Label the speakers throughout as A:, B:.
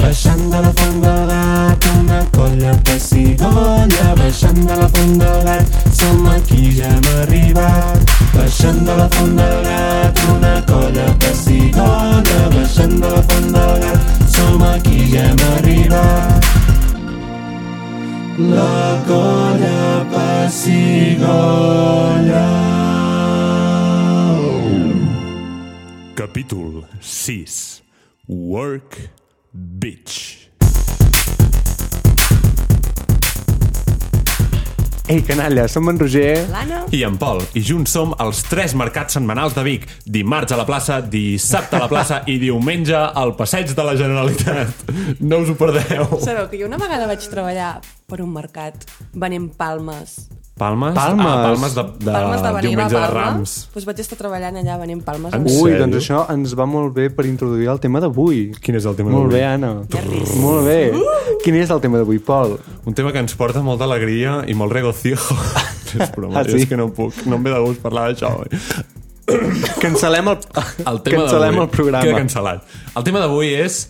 A: baixant a la fondedat una colla pessigona baixant de la fondedat som aquí ja hem arribat baixant de la fondedat una colla pessigona baixant de la fondedat som aquí ja hem arribat la colla pessigona
B: Capítol 6 Work Bitch
C: Ei, canalla, som en Roger.
D: L'Anna?
B: i en Pol, i junts som els tres mercats setmanals de Vic. Dimarts a la plaça, dissabte a la plaça i diumenge al passeig de la Generalitat. No us ho perdeu.
D: Sabeu que jo una vegada vaig treballar per un mercat venent palmes.
B: Palmes?
C: Palmes.
B: Ah, palmes de, de,
D: palmes de venir a
B: diumenge de
D: Palma.
B: Rams.
D: Doncs vaig estar treballant allà venent palmes.
B: En
C: Ui,
B: sèrio?
C: doncs això ens va molt bé per introduir el tema d'avui.
B: Quin és el tema
C: Molt
B: d'avui?
C: bé, Anna.
D: Nervis.
C: Molt bé. Quin és el tema d'avui, Pol?
B: Un tema que ens porta molta alegria i molt regocijo. és broma,
C: Ah, sí?
B: és que no puc, no em ve de gust parlar d'això. eh?
C: Cancel·lem el,
B: El tema
C: Cancel·lem
B: d'avui
C: el programa.
B: Queda cancel·lat. El tema d'avui és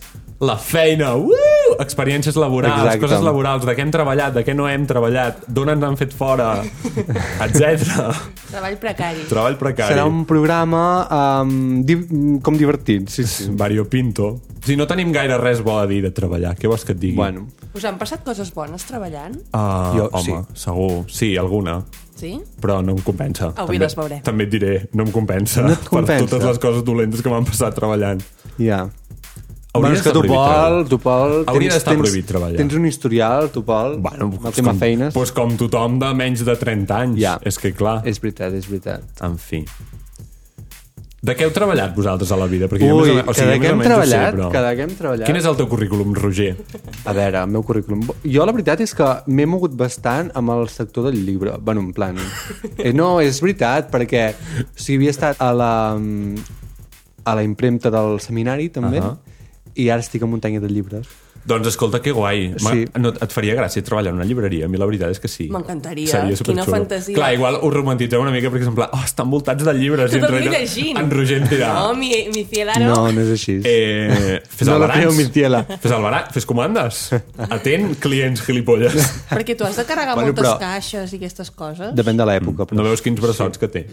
B: la feina. Uh! Experiències laborals,
C: Exacte.
B: coses laborals, de què hem treballat, de què no hem treballat, d'on ens han fet fora, etc.
D: Treball precari.
B: Treball precari.
C: Serà un programa um, di com divertit. Sí, sí.
B: Vario Pinto. Si no tenim gaire res bo a dir de treballar, què vols que et digui?
C: Bueno,
D: Us han passat coses bones treballant?
B: Ah, jo,
C: Jo,
B: home, sí. segur. Sí, alguna.
D: Sí?
B: Però no em compensa.
D: Avui les veurem.
B: També et diré, no em compensa.
C: No et compensa.
B: Per totes les coses dolentes que m'han passat treballant.
C: ja.
B: Hauria
C: Bueno, és que tu, Pol, tu, Pol...
B: Hauria
C: tens-
B: d'estar
C: tens-
B: prohibit treballar.
C: Tens un historial, tu, Pol,
B: Bueno,
C: el tema feines.
B: Pues com tothom de menys de 30 anys.
C: Ja.
B: És que, clar, és...
C: És veritat, és veritat.
B: en fi. De què heu treballat vosaltres a la vida? Perquè jo més
C: Ui,
B: o men- o
C: cada
B: sigui,
C: que
B: més o
C: hem
B: menys ho sé,
C: treballat,
B: però-
C: cada que hem treballat.
B: Quin és el teu currículum, Roger?
C: A veure, el meu currículum... Jo la veritat és que m'he mogut bastant amb el sector del llibre. Bueno, en plan... Eh, no, és veritat, perquè o sigui, havia estat a la, mm, a la impremta del seminari, també, uh
B: Ahà.
C: -huh. i ara estic a muntanya de llibres.
B: Doncs escolta, que guai. Sí.
C: Sí.
B: No, et faria gràcia treballar en una llibreria? A mi la veritat és que sí.
D: M'encantaria.
B: Seria
D: Quina
B: superxulo.
D: fantasia.
B: Clar, igual ho romantitzeu una mica perquè és en pla, oh, estan voltats de llibres. i en
D: Tothom li
B: realitat
D: llegint.
B: En Roger en dirà,
D: Ah, No, mi, mi fiel ara.
C: No, no és així.
B: Eh, fes
C: No
B: el
C: la
B: baranç.
C: creu, Mirtiela.
B: Fes el baranç, fes comandes. Atén clients gilipolles.
D: Perquè tu has de carregar
C: Bueno,
D: moltes
C: però-
D: caixes i aquestes coses. De...
C: Depèn de l'època, però...
B: No veus quins braçots que té.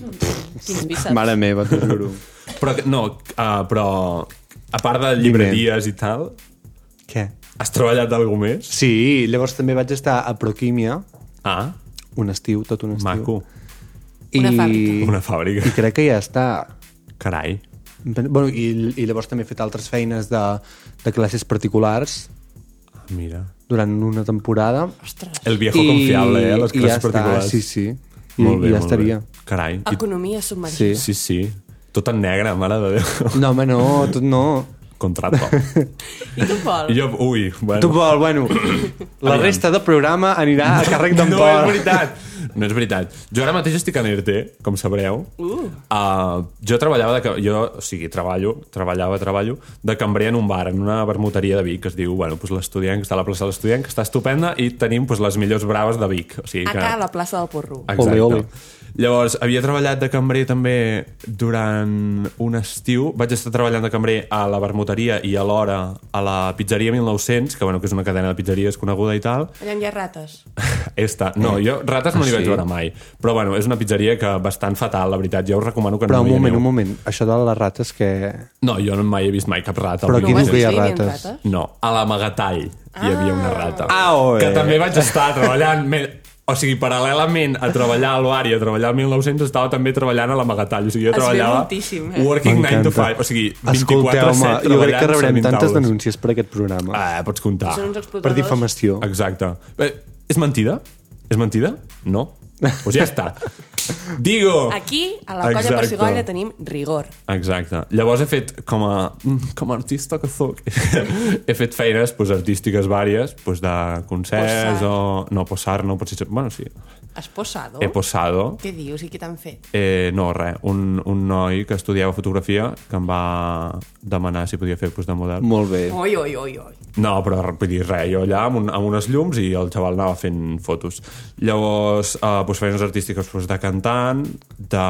D: Quins bíceps.
C: Mare meva, t'ho juro.
B: Però, que- no, uh, però a part de llibreries i tal,
C: Què?
B: has treballat d'algú més?
C: Sí, llavors també vaig estar a Proquímia
B: Ah,
C: un estiu, tot un estiu.
B: maco.
C: I,
D: Una fàbrica.
B: Una fàbrica.
C: I crec que ja està.
B: Carai.
C: Bueno, i, i llavors també he fet altres feines de, de classes particulars
B: Ah, Mira.
C: durant una temporada.
D: Ostres.
B: El viejo I, confiable, eh? Les
C: i
B: classes
C: ja està,
B: particulars.
C: Sí, sí. I, i ja estaria. Ah,
B: Bé. Carai. I,
D: Economia submarina.
C: Sí.
B: sí, sí. Tot en negre, mare de Déu.
C: No, home, no, tot no.
B: Contrato.
D: I tu, Pol?
B: I jo, ui, bueno.
C: Tu, Pol, bueno, la
B: Aviam.
C: resta del programa anirà a càrrec d'en
B: no
C: Pol.
B: és veritat. No és veritat. Jo ara mateix estic en ERTE, com sabreu. Uh. Uh, jo treballava, de, ca- jo, o sigui, treballo, treballava, treballo, de cambrer en un bar, en una vermuteria de Vic, que es diu, bueno, pues l'estudiant que està a la plaça de l'estudiant, que està estupenda, i tenim pues, les millors braves de Vic. O sigui, que...
D: Acá, a la plaça del Porro.
B: Exacte.
C: Ole, ole.
B: Llavors, havia treballat de cambrer també durant un estiu. Vaig estar treballant de cambrer a la vermuteria i alhora a la pizzeria 1900, que, bueno, que és una cadena de pizzeries coneguda i tal.
D: Allà hi ha rates.
B: Esta, no, jo rates no
C: Ah,
B: n'hi vaig
C: sí?
B: veure mai. Però bueno, és una pizzeria que bastant fatal, la veritat. Jo us recomano que
C: Però
B: no
C: un
B: hi
C: moment,
B: aneu.
C: un moment. Això de les rates que...
B: No, jo no mai he vist mai cap rata.
C: Però
B: al
C: qui
B: Vic
C: diu que hi ha
D: dir, n'hi ha
C: rates?
D: rates?
B: No, a l'amagatall hi havia una rata.
C: Ah, oe.
B: que també vaig estar treballant... me- O sigui, paral·lelament a treballar al bar i a treballar al 1900, estava també treballant a l'amagatall. O sigui, jo
D: Es veu
B: treballava
D: moltíssim, eh?
B: working 9 to 5. O sigui, 24 7
C: jo crec que
B: treballant
C: rebrem
B: servint
C: tantes
B: taules.
C: denúncies per aquest programa.
B: Ah, pots comptar.
D: Són uns
C: per
D: explotadors.
C: difamació.
B: Exacte. Eh, és mentida? És mentida? No? Doncs ja està. Digo!
D: Aquí, a la colla
B: Exacte.
D: Persigolla, tenim rigor.
B: Exacte. Llavors he fet, com a, mm, com a artista que sóc, he fet feines pues, artístiques vàries, pues, de concerts
D: Posar. Oh.
B: o... No, posar, no, potser... Bueno, sí.
D: Has posado?
B: He posado.
D: Què dius i què t'han fet?
B: Eh, no, res, un, un noi que estudiava fotografia que em va demanar si podia fer pues, de model.
C: Molt bé.
D: Oi, oi, oi, oi.
B: No, però vull dir res, jo allà amb, un, amb unes llums i el xaval anava fent fotos. Llavors, eh, doncs, feines artístiques doncs, de cantant, de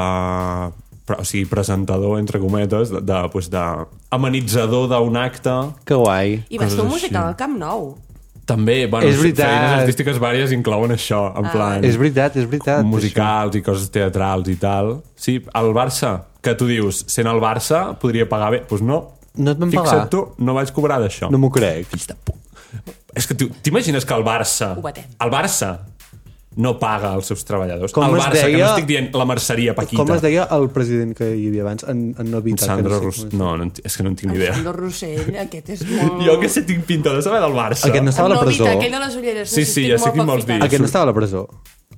B: però, o sigui, presentador, entre cometes, de, de, pues, de amenitzador d'un acte.
C: Que guai.
D: I vas
B: Coses
D: fer un musical
B: així.
D: al Camp Nou.
B: També, bueno,
C: És veritat.
B: feines artístiques vàries inclouen això, en ah. plan...
C: És veritat, és veritat.
B: musicals i coses teatrals i tal. Sí, el Barça, que tu dius, sent el Barça podria pagar bé. Doncs pues no.
C: No et van pagar.
B: Fixa't tu, no vaig cobrar d'això.
C: això. No m'ho crec.
B: És que tu- t'imagines que el Barça...
D: Ho batem.
B: El Barça no paga als seus treballadors.
C: Com
B: el
C: es
B: Barça, que no
C: deia-
B: estic dient la merceria Paquita.
C: Com es deia el president que hi havia abans? En, en Novita.
B: Sandro
C: que no
B: Rus...
C: sé com es-
B: No, no, en- és que no en tinc ni idea.
D: Alejandro Rossell, aquest és molt...
B: Jo que sé, tinc pinta de saber del Barça.
C: Aquest no estava a la
D: No, Vita,
C: presó.
D: aquell de les ulleres.
B: Sí, sí, ja sé quin vols dir.
C: Aquest no estava a la presó.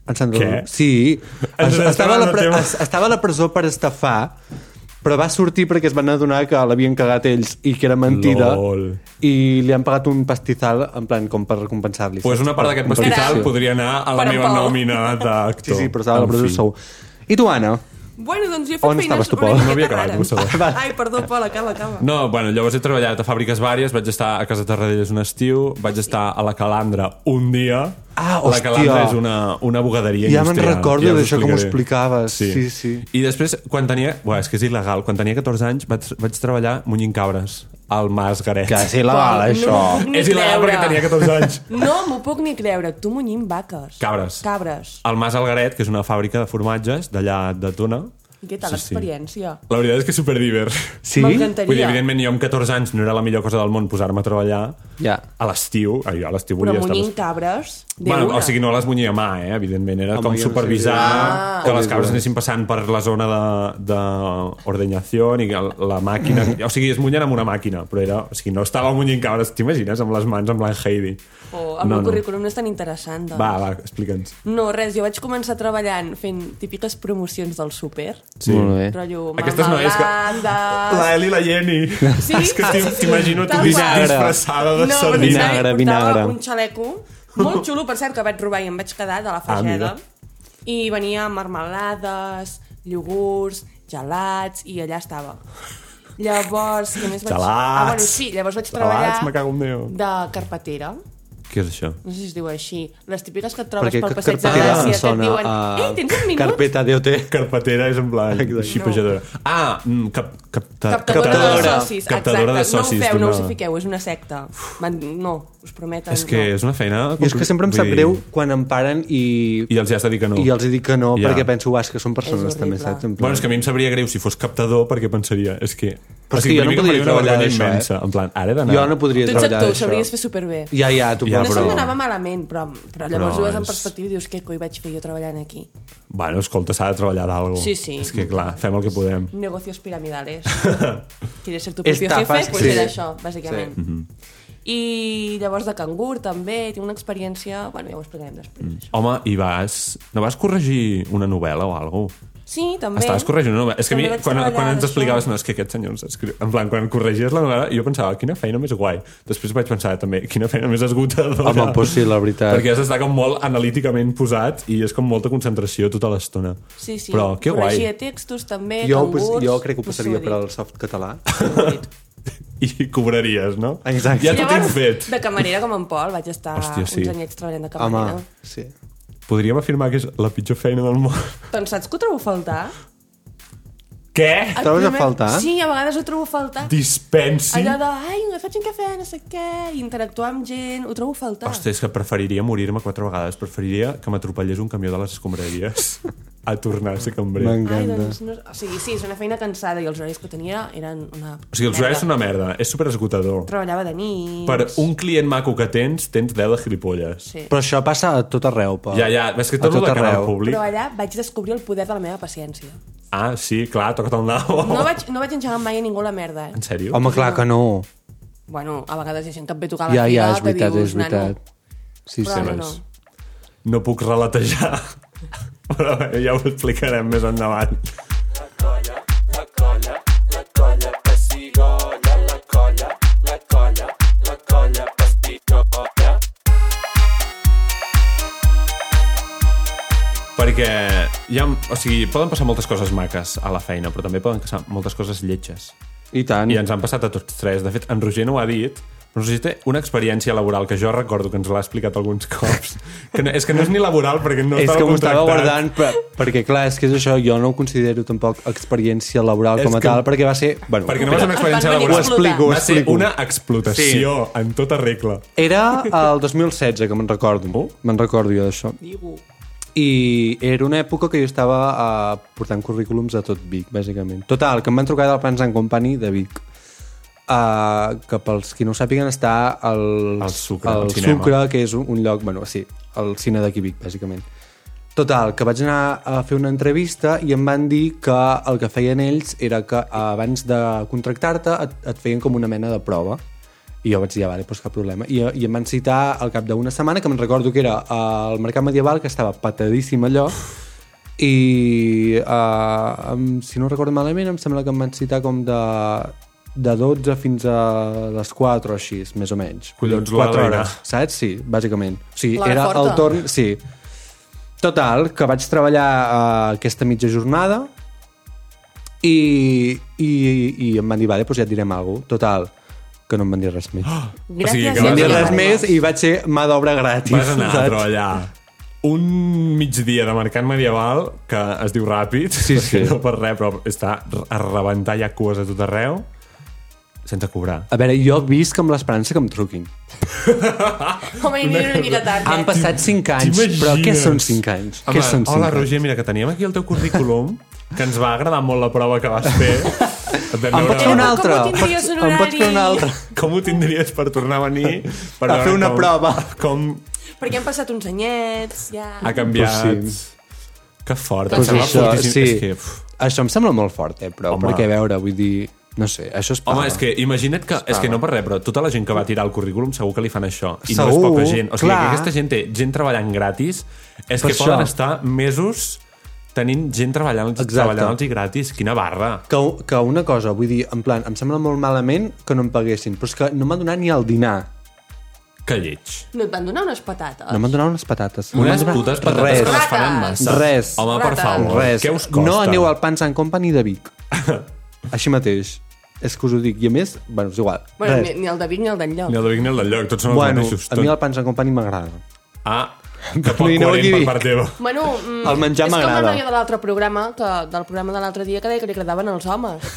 C: En Sandro
B: Què?
C: Rus. Sí.
B: Ens
C: Es- Estava a la,
B: estava
C: pre
B: en el tema.
C: es- estava a la presó per estafar, però va sortir perquè es van adonar que l'havien cagat ells i que era mentida.
B: Lol.
C: I li han pagat un pastizal, en plan, com per recompensar-li.
B: pues una part d'aquest
D: Competició.
B: pastizal podria anar a la
D: Per en
B: meva
D: Pau.
B: nòmina d'actor.
C: Sí, sí, però estava a la
B: En
C: presó
B: fi.
C: segur. I tu, Anna?
D: Bueno, doncs jo he fet
C: On
D: feines
C: estaves tu,
D: una
C: Pol?
D: miqueta
B: No havia acabat,
D: rares.
B: un segon.
D: Ah, Ai, perdó, Pol, acaba, acaba.
B: No, bueno, llavors he treballat a fàbriques vàries, vaig estar a Casa Tarradellas un estiu, vaig estar a la Calandra un dia. La
C: Ah, hòstia.
B: Calandra és una, una bugaderia
C: Ja me'n
B: industrial.
C: recordo
B: us
C: d'això, com ho
B: explicaré.
C: explicaves. Sí, sí.
B: I després, quan tenia... Buah, és que és il·legal. Quan tenia 14 anys vaig, vaig treballar munyint cabres al Mas Garet.
C: sí,
D: Pol, No m'ho puc ni
B: és il·legal
D: creure.
B: perquè tenia 14 anys.
D: No m'ho puc ni creure. Tu munyint vaques.
B: Cabres.
D: Cabres.
B: Al Mas Algaret, que és una fàbrica de formatges d'allà de Tona.
D: I què tal
B: Sí, sí.
D: l'experiència?
B: La veritat és que és superdiver.
C: Sí?
D: M'encanta.
B: Vull dir, evidentment, jo amb 14 anys no era la millor cosa del món posar-me a treballar
C: Ja.
B: a l'estiu. Ah, Jo a l'estiu
D: Però
B: volia estar...
D: munyint cabres, de
B: Bueno,
D: una.
B: o sigui, no les munyia a mà, eh? evidentment. Era
C: Home,
B: com
C: jo no sé.
B: supervisar
C: Ah.
B: que les cabres anessin passant per la zona de, de ordeñació i que la màquina...
C: Mm.
B: O sigui, es munyen amb una màquina, però era... O sigui, no estava munyint cabres, t'imagines? Amb les mans, amb la Heidi.
D: O el meu Oh, currículum no és tan interessant, doncs.
B: Va, va, explica'ns.
D: No, res, jo vaig començar treballant fent típiques promocions del súper.
B: Sí.
C: Molt bé.
D: Rotllo,
B: Aquestes noies que-
D: que...
B: La Eli i la Jenny.
D: Ah. Sí,
B: És que
D: sí,
B: t'im-
D: sí,
B: t'imagino tu
D: tal
B: dis-
D: qual.
B: disfressada de
D: no,
B: sardina.
D: però en sèrio,
C: Vinagre, vinagre.
D: portava un xaleco molt xulo, per cert, que vaig robar i em vaig quedar de la fageda.
B: Ah, mira.
D: I venia amb marmelades, iogurts, gelats, i allà estava. Llavors, què més vaig...
B: Gelats.
D: Ah, bueno, sí, llavors vaig
B: Gelats,
D: treballar
B: me cago en Déu.
D: de carpetera.
B: Què és això?
D: No sé si es diu així. Les típiques que et trobes
C: Perquè
D: pel
C: ca-
D: passeig de
C: carpetera
D: Gràcia,
C: em
D: que et
C: sona
D: diuen...
C: a...
D: Ei, tens un minut?
C: Carpeta de OT.
B: Carpetera és en plan
C: Exacte.
B: xipejadora. Ah, mm, cap, capta,
D: Captadora,
C: Captadora.
D: de socis,
B: Captadora
D: exacte.
B: de socis.
D: no ho feu, no us hi
B: d'una-
D: fiqueu, és una secta. Van, no, us prometen.
B: És que
D: no.
B: és una feina...
C: I és que sempre em
B: vull
C: sap
B: dir,
C: greu quan em paren i...
B: I els hi has de dir que no.
C: I els he dit que no,
B: Ja.
C: perquè penso, "Uah, és que són persones
D: És
C: també,
D: horrible.
C: saps? En plan-
B: Bueno, és que a mi em sabria greu si fos captador perquè pensaria... És que... o
C: Però és
B: sigui,
C: que jo
B: primer
C: no
B: em
C: podria
B: faria una
C: treballar
B: vergonya
C: d'això,
B: immensa.
C: eh?
B: En plan, ara he d'anar...
C: Jo no podria
D: Tu ets
C: treballar
D: actor, ho
C: d'això.
D: sabries fer superbé.
C: Ja, ja, tu,
B: Ja,
C: ja,
D: no
B: però-
D: se'm
C: però...
D: donava malament, però, però
B: No,
D: llavors no, ho veus en
B: és-
D: perspectiva i dius, què coi vaig fer jo treballant aquí?
B: Bueno, escolta, s'ha de treballar d'algo.
D: Sí, sí.
B: És que, clar, fem el que podem.
D: Negocios piramidales. Quieres ser tu propio
C: Estafes,
D: jefe? Pues
C: sí.
D: era això, bàsicament. Sí.
B: Mhm.
D: I llavors de cangur també, tinc una experiència... Bueno, ja ho explicarem després.
B: Home, i vas... No vas corregir una novel·la o alguna cosa?
D: Sí, també.
B: Estaves corregint una novel·la. És que a mi,
D: També vaig
B: quan,
D: treballar
B: quan ens
D: d'això.
B: explicaves, no, és que aquest senyor ens escriu... En plan, quan corregies la novel·la, jo pensava, quina feina més guai. Després vaig pensar també, quina feina més esgotadora.
C: Home, doncs sí, la veritat.
B: Perquè has d'estar com molt analíticament posat i és com molta concentració tota l'estona.
D: Sí, sí.
B: Però que guai.
D: Corregia textos també,
C: Jo, ho
D: cangurs...
C: pos- jo crec que ho
D: pues
C: passaria
D: he
C: per
D: dit.
C: al soft català.
B: I cobraries, no?
C: Exacte.
B: Ja t'ho tinc
D: Llavors,
B: fet.
D: de camarera com en Pol, vaig estar
B: Hòstia, sí.
D: uns anyets treballant de
C: Home,
D: camarera. Home.
C: sí.
B: Podríem afirmar que és la pitjor feina del món.
D: Doncs saps que ho trobo a faltar?
B: Què?
D: El
C: Trobes a faltar?
D: Sí, a vegades ho trobo a faltar.
B: Dispensi?
D: Allò de, ai, em faig un cafè, no sé què, interactuar amb gent, ho trobo a faltar.
B: Hòstia, és que preferiria morir-me quatre vegades. Preferiria que m'atropellés un camió de les escombraries a tornar a ser cambrer.
D: Ai,
C: M'encanta.
D: doncs, no... O sigui, sí, és una feina cansada i els horaris que tenia eren una...
B: O sigui, els horaris són una merda. És super esgotador.
D: Treballava de nit...
B: Per un client maco que tens, tens 10 de gilipolles.
D: Sí.
C: Però això passa a tot arreu, Pau.
B: Ja, ja, és que tot,
C: A tot
B: la cara al
C: arreu.
B: públic.
D: Però allà vaig descobrir el poder de la meva paciència.
B: Ah, sí, clar, toca't el nau.
D: No vaig, no vaig engegar mai a ningú la merda, eh?
B: En sèrio?
C: Home, clar que no.
D: Bueno, a vegades hi ha gent que et ve a tocar la
C: Ja,
D: fila,
C: ja, és veritat,
D: que dius,
C: és veritat.
D: nano...
C: Sí,
D: Però
C: sí.
D: no, no.
B: res. No puc relatejar. Però bé, ja ho explicarem més endavant. Perquè hi ha, o sigui, poden passar moltes coses maques a la feina, però també poden passar moltes coses lletges.
C: I tant.
B: I ens han passat a tots tres. De fet, en Roger no ho ha dit, Però necessita una experiència laboral que jo recordo que ens l'ha explicat alguns cops. Que no, és que no és ni laboral perquè no
C: és
B: estava
C: que m'ho estava
B: contractat.
C: guardant per, perquè clar, és que és això, jo no ho considero tampoc experiència laboral
B: És
C: com a
B: que-
C: tal perquè va ser, bueno,
B: Perquè no va ser una
D: Et van
B: experiència
D: venir a
B: laboral.
D: explotar. Ho explico,
C: ho
B: va ser
C: explico.
B: una explotació sí. en tota regla.
C: era el 2016 que me'n recordo oh. me'n recordo jo d'això
D: Digo.
C: i era una època que jo estava eh, portant currículums a tot Vic, bàsicament. Total, que em van trucar del Plans and Company de Vic. Uh, que pels qui no ho sàpiguen està el,
B: Al Sucre, al
C: el
B: cinema.
C: Sucre que és un, un lloc, bueno, sí, el cine d'aquí Vic, bàsicament. Total, que vaig anar a fer una entrevista i em van dir que el que feien ells era que eh, abans de contractar-te et, et feien com una mena de prova. I jo vaig dir, ah, vale, doncs cap problema. I, I em van citar al cap d'una setmana, que me'n recordo que era al Mercat Medieval, que estava patadíssim allò, i uh, em, si no recordo malament em sembla que em van citar com de, de 12 fins a les 4 o així, més o menys
B: Collons, l'hora
C: Quatre
B: de dinar.
C: hores, saps? Sí, bàsicament o sigui,
D: L'hora
C: era
D: forta.
C: el torn, sí total, que vaig treballar uh, aquesta mitja jornada i, i, i em van dir, vale, doncs ja et direm alguna cosa total, que no em van dir res més oh,
B: O sigui,
D: Gràcies,
B: que
C: no em van dir
B: vas anar-
C: res més i vaig ser mà d'obra gratis
B: Vas anar a
C: saps?
B: treballar un migdia de mercat medieval que es diu ràpid,
C: Sí, sí.
B: perquè no per res, però està a rebentar ja cues a tot arreu, sense cobrar.
C: a veure, jo visc amb l'esperança que em truquin
D: Com a mínim una mica tard.
C: Han
D: nens.
C: passat 5 anys,
B: T'imagines?
C: però què són 5 anys?
B: Home,
C: què són 5
B: hola,
C: anys?
B: Roger, mira, que teníem aquí el teu currículum, que ens va agradar molt la prova que vas fer. Et vam
C: Em
B: veure-
C: pots fer una
D: Com
C: altra?
D: ho tindries
C: Pots-
D: un
C: Em pots fer una
D: horari?
C: altra?
B: Com ho tindries per tornar a venir? Per
C: A
B: veure
C: fer una
B: com,
C: prova.
B: Com
D: Perquè han passat uns anyets, ja...
B: ha canviat...
C: Pues
B: Que fort.
C: Doncs
B: em sembla
C: això,
B: fortíssim.
C: sí.
B: És que, pff,
C: Això em sembla molt fort, eh, però,
B: Home.
C: Home. perquè a veure, vull dir... No sé, això es paga.
B: Home, és que imagina't que, és que no per res, però tota la gent que va tirar el currículum segur que li fan això. I no és
C: Segur,
B: poca gent. O sigui,
C: clar.
B: que aquesta gent té gent treballant gratis, és
C: Per
B: que poden
C: això.
B: estar mesos tenint gent treballant, treballant i gratis. Quina barra.
C: Que, que una cosa, vull dir, en plan, em sembla molt malament que no em paguessin, però és que no m'han donat ni el dinar.
B: Que lleig.
D: No et van donar unes patates?
C: No m'han donat unes patates. No
B: Unes
C: m'han donat
B: putes patates
C: res,
B: que les fan en
D: Rates.
B: massa.
C: Res.
B: Home, per
D: Rates.
B: favor.
C: Res.
B: Què us costa?
C: No aneu al Pans and Company de Vic. Així mateix. És que us ho dic. I a més, bueno, és igual.
D: Bueno, ni,
C: res.
D: ni el de Vic ni el d'enlloc.
B: Ni el de Vic ni el del lloc, tots són els
C: Bueno,
B: mateixos.
C: a mi el Pans and Company m'agrada.
B: Ah, que poc
C: Vull dir,
B: coherent
C: no vull
B: per
C: dir-
B: part teva.
D: Bueno, mm,
C: El menjar
D: és com la
C: m'agrada.
D: noia de l'altre programa, que, del programa de l'altre dia, que deia que li agradaven els homes.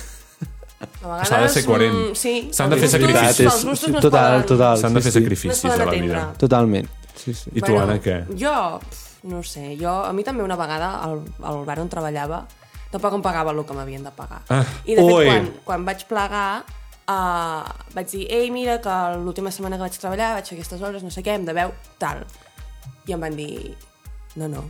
D: A vegades...
B: S'ha de ser coherent.
D: mm, sí.
B: S'han de
D: els
B: fer
D: gustos-
B: sacrificis.
D: Els gustos no es
C: total,
D: poden-
C: total.
B: S'han de
C: sí,
B: fer
C: sí.
B: sacrificis
D: No es
B: de
D: poden
B: la vida.
D: atendre.
C: Totalment. Sí, sí.
B: I tu, Anna, què?
D: Jo, pf, no ho sé, jo, a mi també una vegada al, al bar on treballava tampoc em pagava el que m'havien de pagar.
B: Ah.
D: I de fet,
C: Ui.
D: quan, quan vaig plegar, uh, vaig dir, ei, mira, que l'última setmana que vaig treballar vaig fer aquestes hores, no sé què, em deveu tal. I em van dir, no, no,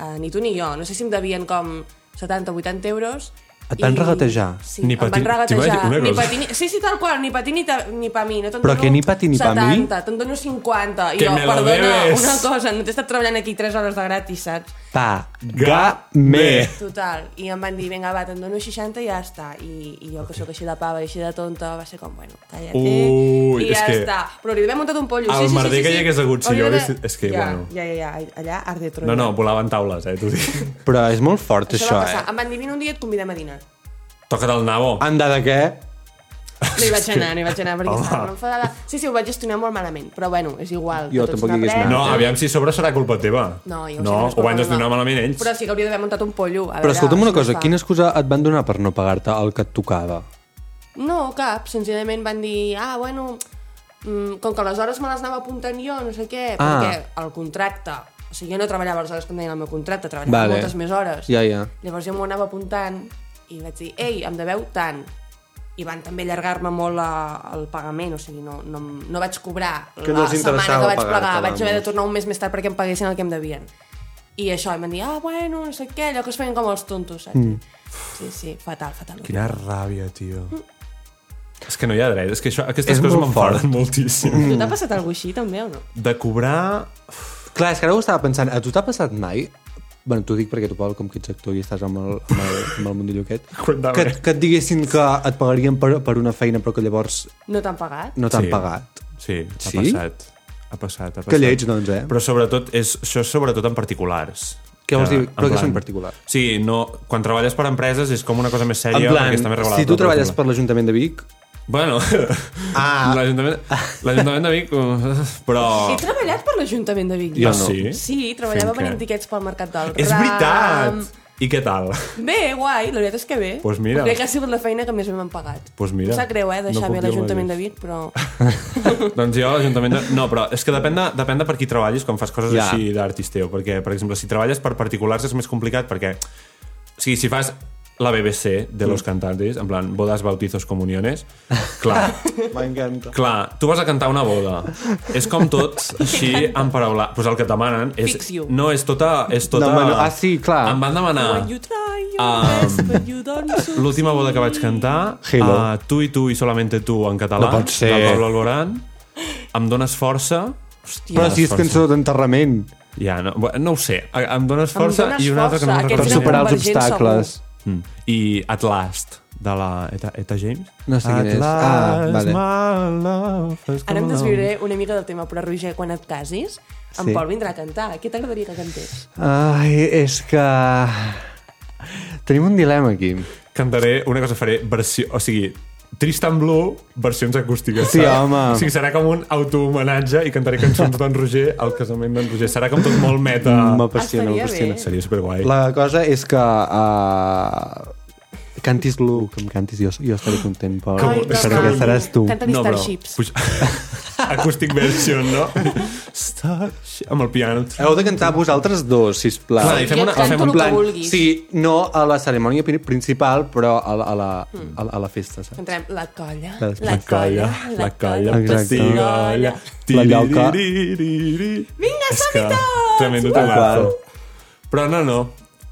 D: uh, ni tu ni jo, no sé si em devien com 70-80 euros,
C: Et van
D: i-
C: regatejar?
D: Sí,
B: Ni
D: ni
B: pa
D: em
B: ti-
D: van regatejar.
B: t'imagines? Una
D: Ni
B: cosa.
D: pa ti, ni... Sí, sí, tal qual, ni pa ti ni, ta, ni pa mi. No te'n
C: Però
D: dono
C: que ni pa ti ni pa mi?
D: 70, Ah, te'n dono 50. I
B: Que
D: jo,
B: me lo
D: perdona,
B: debes.
D: una cosa, no t'he estat treballant aquí 3 hores de gratis, saps?
C: Paga-me.
D: Total. I em van dir, vinga, va, te'n dono 60 i ja està. I, i jo, que sóc així de pava i així de tonta, va ser com, bueno, calla't.
B: Ui,
D: I
B: és
D: ja
B: que-
D: està. Però li havia muntat un pollo.
B: El
D: sí, sí,
B: merder
D: sí, sí,
B: que hi
D: sí.
B: hagués hagut, si
D: Hauria
B: jo
D: de-
B: hagués- és que,
D: ja,
B: bueno.
D: Ja, ja, ja, allà, art de Troia.
B: No, no, volaven taules, eh, t'ho dic.
C: Però és molt fort,
D: Això,
C: això,
D: va passar.
C: eh?
D: Em van dir, vine un dia i et convidem a dinar.
B: Toca't el nabo.
C: Anda de què?
D: No hi vaig anar, no hi vaig anar, perquè
B: Home.
D: estava molt enfadada. Sí, sí, ho vaig gestionar molt malament, però bueno, és igual. que
C: Jo
D: tots
C: tampoc hi hagués
D: n'aprenem.
B: No, aviam si a sobre serà culpa teva.
D: No, jo
B: no
D: sé,
B: ho van gestionar malament ells.
D: Però sí que hauria d'haver muntat un pollo. A
C: Però
D: veure,
C: escolta'm una
D: això no
C: cosa,
D: es fa.
C: quina excusa et van donar per no pagar-te el que et tocava?
D: No, cap. Senzillament van dir, ah, bueno, mm, com que les hores me les anava apuntant jo, no sé què,
C: Ah.
D: perquè el contracte... O sigui, jo no treballava les hores que em deien el meu contracte, treballava
C: Vale.
D: moltes més hores.
C: Ja, ja.
D: Llavors jo m'ho anava apuntant i vaig dir, ei, em deveu tant. I van també allargar-me molt la, el pagament, o sigui, no, no, em- no vaig cobrar
C: Que
D: la
C: no els
D: setmana
C: interessava
D: que vaig
C: pagar-te,
D: plegar, vaig haver de
C: vamos.
D: tornar un mes més tard perquè em paguessin el que em devien. I això, i em van dir, ah, bueno, no sé què, allò que es feien com els tontos, saps? Mm. Sí, sí, fatal, fatal.
B: Quina ràbia, tio. És que no hi ha dret. És que això, aquestes
C: És
B: coses
C: molt fort.
B: m'enfaden moltíssim.
D: Mm. Tu t'ha passat alguna així, també, o no?
B: De cobrar...
C: Clar, és que ara ho estava pensant. A tu t'ha passat mai? Bueno, t'ho dic perquè tu, Pol, com que ets actor i estàs amb el, amb el, amb el mundillo aquest,
B: Cuéntame.
C: que, que et diguessin que et pagarien per, per una feina però que llavors
D: No t'han pagat?
C: no t'han
B: Sí.
C: pagat.
B: Sí, ha
C: Sí?
B: passat. Ha passat, ha passat.
C: Que lleig, doncs, eh?
B: Però sobretot, és, això és sobretot en particulars.
C: Què vols
B: Que,
C: dir?
B: en
C: Però què és
B: plan-
C: en particular?
B: Sí, no, quan treballes per empreses és com una cosa més
C: En
B: sèria, perquè està més
C: plan,
B: regulada.
C: si
B: per
C: tu
B: la
C: treballes
B: pel·lícula.
C: per l'Ajuntament de Vic,
B: Bueno,
C: Ah.
B: l'Ajuntament l'Ajuntament de Vic... eh, Però...
D: He treballat per l'Ajuntament de Vic.
B: Jo
C: no.
B: sí.
D: Sí, treballava
B: Fent
D: venint
B: què?
D: tiquets pel Mercat del
B: És
D: Ram.
B: veritat! I què tal? Doncs
D: Bé, guai, la veritat és que bé.
B: Pues mira.
D: Crec que ha sigut la feina que més bé m'han pagat.
B: Pues mira.
D: Em sap greu, eh,
B: No
D: deixar
B: puc
D: bé
B: dir el
D: l'Ajuntament de
B: mateix.
D: Vic, però...
B: Doncs jo a l'Ajuntament de... No, però és que depèn de, depèn de per qui treballis quan fas coses
C: Ja.
B: així d'artisteo. Perquè, per exemple, si treballes per particulars és més complicat perquè... O sigui, si fas la BBC de
C: Mm.
B: los cantantes, en plan, bodas, bautizos, comuniones, clar,
C: M'encanta.
B: Clar, tu vas a cantar una boda. És com tot, així, en paraula... Pues el que et demanen és...
D: Fix you.
B: No, és tota... És tota...
C: Demano- ah, sí, clar.
B: Em van demanar...
D: When you try your
B: Ah.
D: best, but you don't succeed.
B: L'última boda que vaig cantar,
C: Halo.
B: a Tu i tu i solamente tu en català,
C: No pot ser.
B: del Pablo Alborán, em dones força... Hòstia,
C: Però si és cançó d'enterrament.
B: Ja, no, bueno, no ho sé. A- Em dones força
D: dones
B: i una altra que no
D: força,
B: recordo.
C: Per
D: Però
B: el
C: superar els
D: Convergent,
C: obstacles.
B: Mm. I At Last, de la Eta, Eta James.
C: No sé quin
B: At
C: és.
B: Last,
C: Ah, vale.
B: my love has
D: Ara em
B: come
D: desviuré una mica del tema, però Roger, quan et casis, en
C: Sí.
D: Pol vindrà a cantar. Què t'agradaria que cantés?
C: Ai, és que... Tenim un dilema aquí.
B: cantaré una cosa, faré versió... O sigui, Tristan Blue, versions acústiques.
C: Sí,
B: saps?
C: home.
B: O sigui, serà com un autohomenatge i cantaré cançons d'en Roger al casament d'en Roger. Serà com tot molt meta.
C: Mm, M'apassiona,
D: Ah, Estaria
C: m'apassiona.
D: bé.
B: Seria superguai. La...
C: La cosa és que... Uh, cantis lo que em cantis, jo, jo estaré content, Pol.
B: Com-
D: que
C: Perquè
D: maco.
C: seràs tu.
D: Canta no, Starships.
B: Puja... Acoustic version, no? Starship... Amb el piano.
C: Heu de cantar vosaltres dos, sisplau.
B: Clar, i fem
D: Jo
B: una-
D: et canto
B: fem un
D: el
B: plan.
D: que vulguis.
C: Sí, no a la cerimònia pri- principal, però a la, a la,
D: Mm.
C: a la, a la festa, saps?
D: Entrem la colla,
C: La-
D: la colla,
B: la colla,
C: Exacte.
B: pessigolla.
C: La lloca.
B: Vinga,
D: som-hi tots!
B: Tremendo
C: Tal
B: temazo.
C: qual.
B: Però no, no.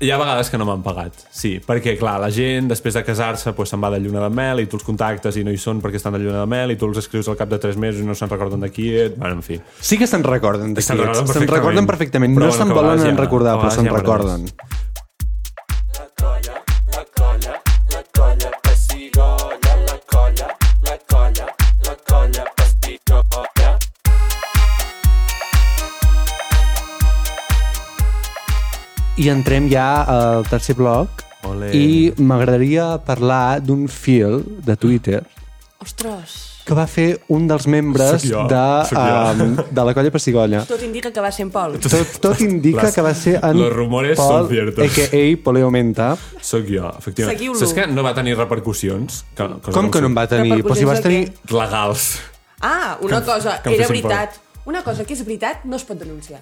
B: Hi ha vegades que no m'han pagat, sí. Perquè, clar, la gent, després de casar-se, pues, se'n va de lluna de mel i tu els contactes i no hi són perquè estan de lluna de mel i tu els escrius al cap de tres mesos i no se'n recorden de qui et... Bueno, en fi.
C: Sí que se'n recorden d'aquí.
B: Se'n recorden
C: Se'n recorden
B: perfectament. Però
C: perfectament. No
B: bueno,
C: se'n
B: que a
C: volen
B: vegades
C: en
B: ja-
C: recordar,
B: a
C: però
B: vegades
C: se'n
B: ja
C: recorden. I entrem ja al tercer bloc
B: Ole.
C: i m'agradaria parlar d'un fil de Twitter
D: Ostres,
C: que va fer un dels membres
B: Sóc jo,
C: de,
B: sóc jo.
C: um, de la colla Pessigolla.
D: tot indica que va ser en Pol.
C: Tot, tot indica
B: Les-
C: que va ser en
B: los rumores
C: Pol,
B: son ciertos.
C: a.k.a. Poleo
B: Sóc jo, efectivament.
D: Seguiu-lo.
B: Saps que no va tenir repercussions? Que, cosa
C: Com que no en va tenir? Però si vas tenir...
D: Repercussions
B: Legals.
D: Ah,
B: Que
D: una
B: em-
D: cosa,
B: que em
D: era
B: fessin por.
D: veritat. Una cosa que és veritat no es pot denunciar.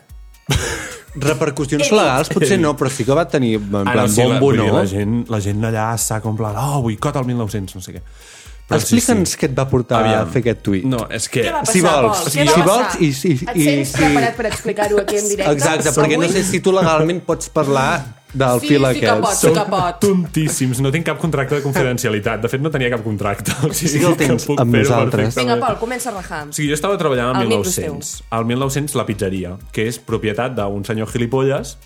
C: Repercussions legals potser no, però sí que va tenir en plan
B: Eh, Ara, Ah, sí, la,
C: bombo,
B: vull dir,
C: no?
B: la, gent, la gent allà està com plan, oh, boicot el 1900, no sé què. Però Ah, sí,
C: Explica'ns què et va portar
B: Aviam.
C: a fer aquest tuit.
B: No, és que...
D: Què va passar,
C: Eh, Si vols,
D: Pol?
C: si-
D: Què va
C: si
D: passar?
C: vols i- i-
D: Et
C: i-
D: sents
C: si-
D: preparat per explicar-ho aquí en directe?
C: Exacte, perquè no sé si tu legalment pots parlar del
D: Sí,
C: fil
D: sí que
C: aquest.
D: pots.
B: Són
D: capot.
B: tontíssims, no tinc cap contracte de confidencialitat. De fet, no tenia cap contracte. O sigui,
C: Sí que el tens
B: puc
C: amb
B: fer-ho
C: nosaltres.
D: Vinga,
B: perfectament.
D: Pol, comença a rajar.
B: O sigui, jo estava treballant al
D: El
B: 1900. Al 1900, la pizzeria, que és propietat d'un senyor gilipolles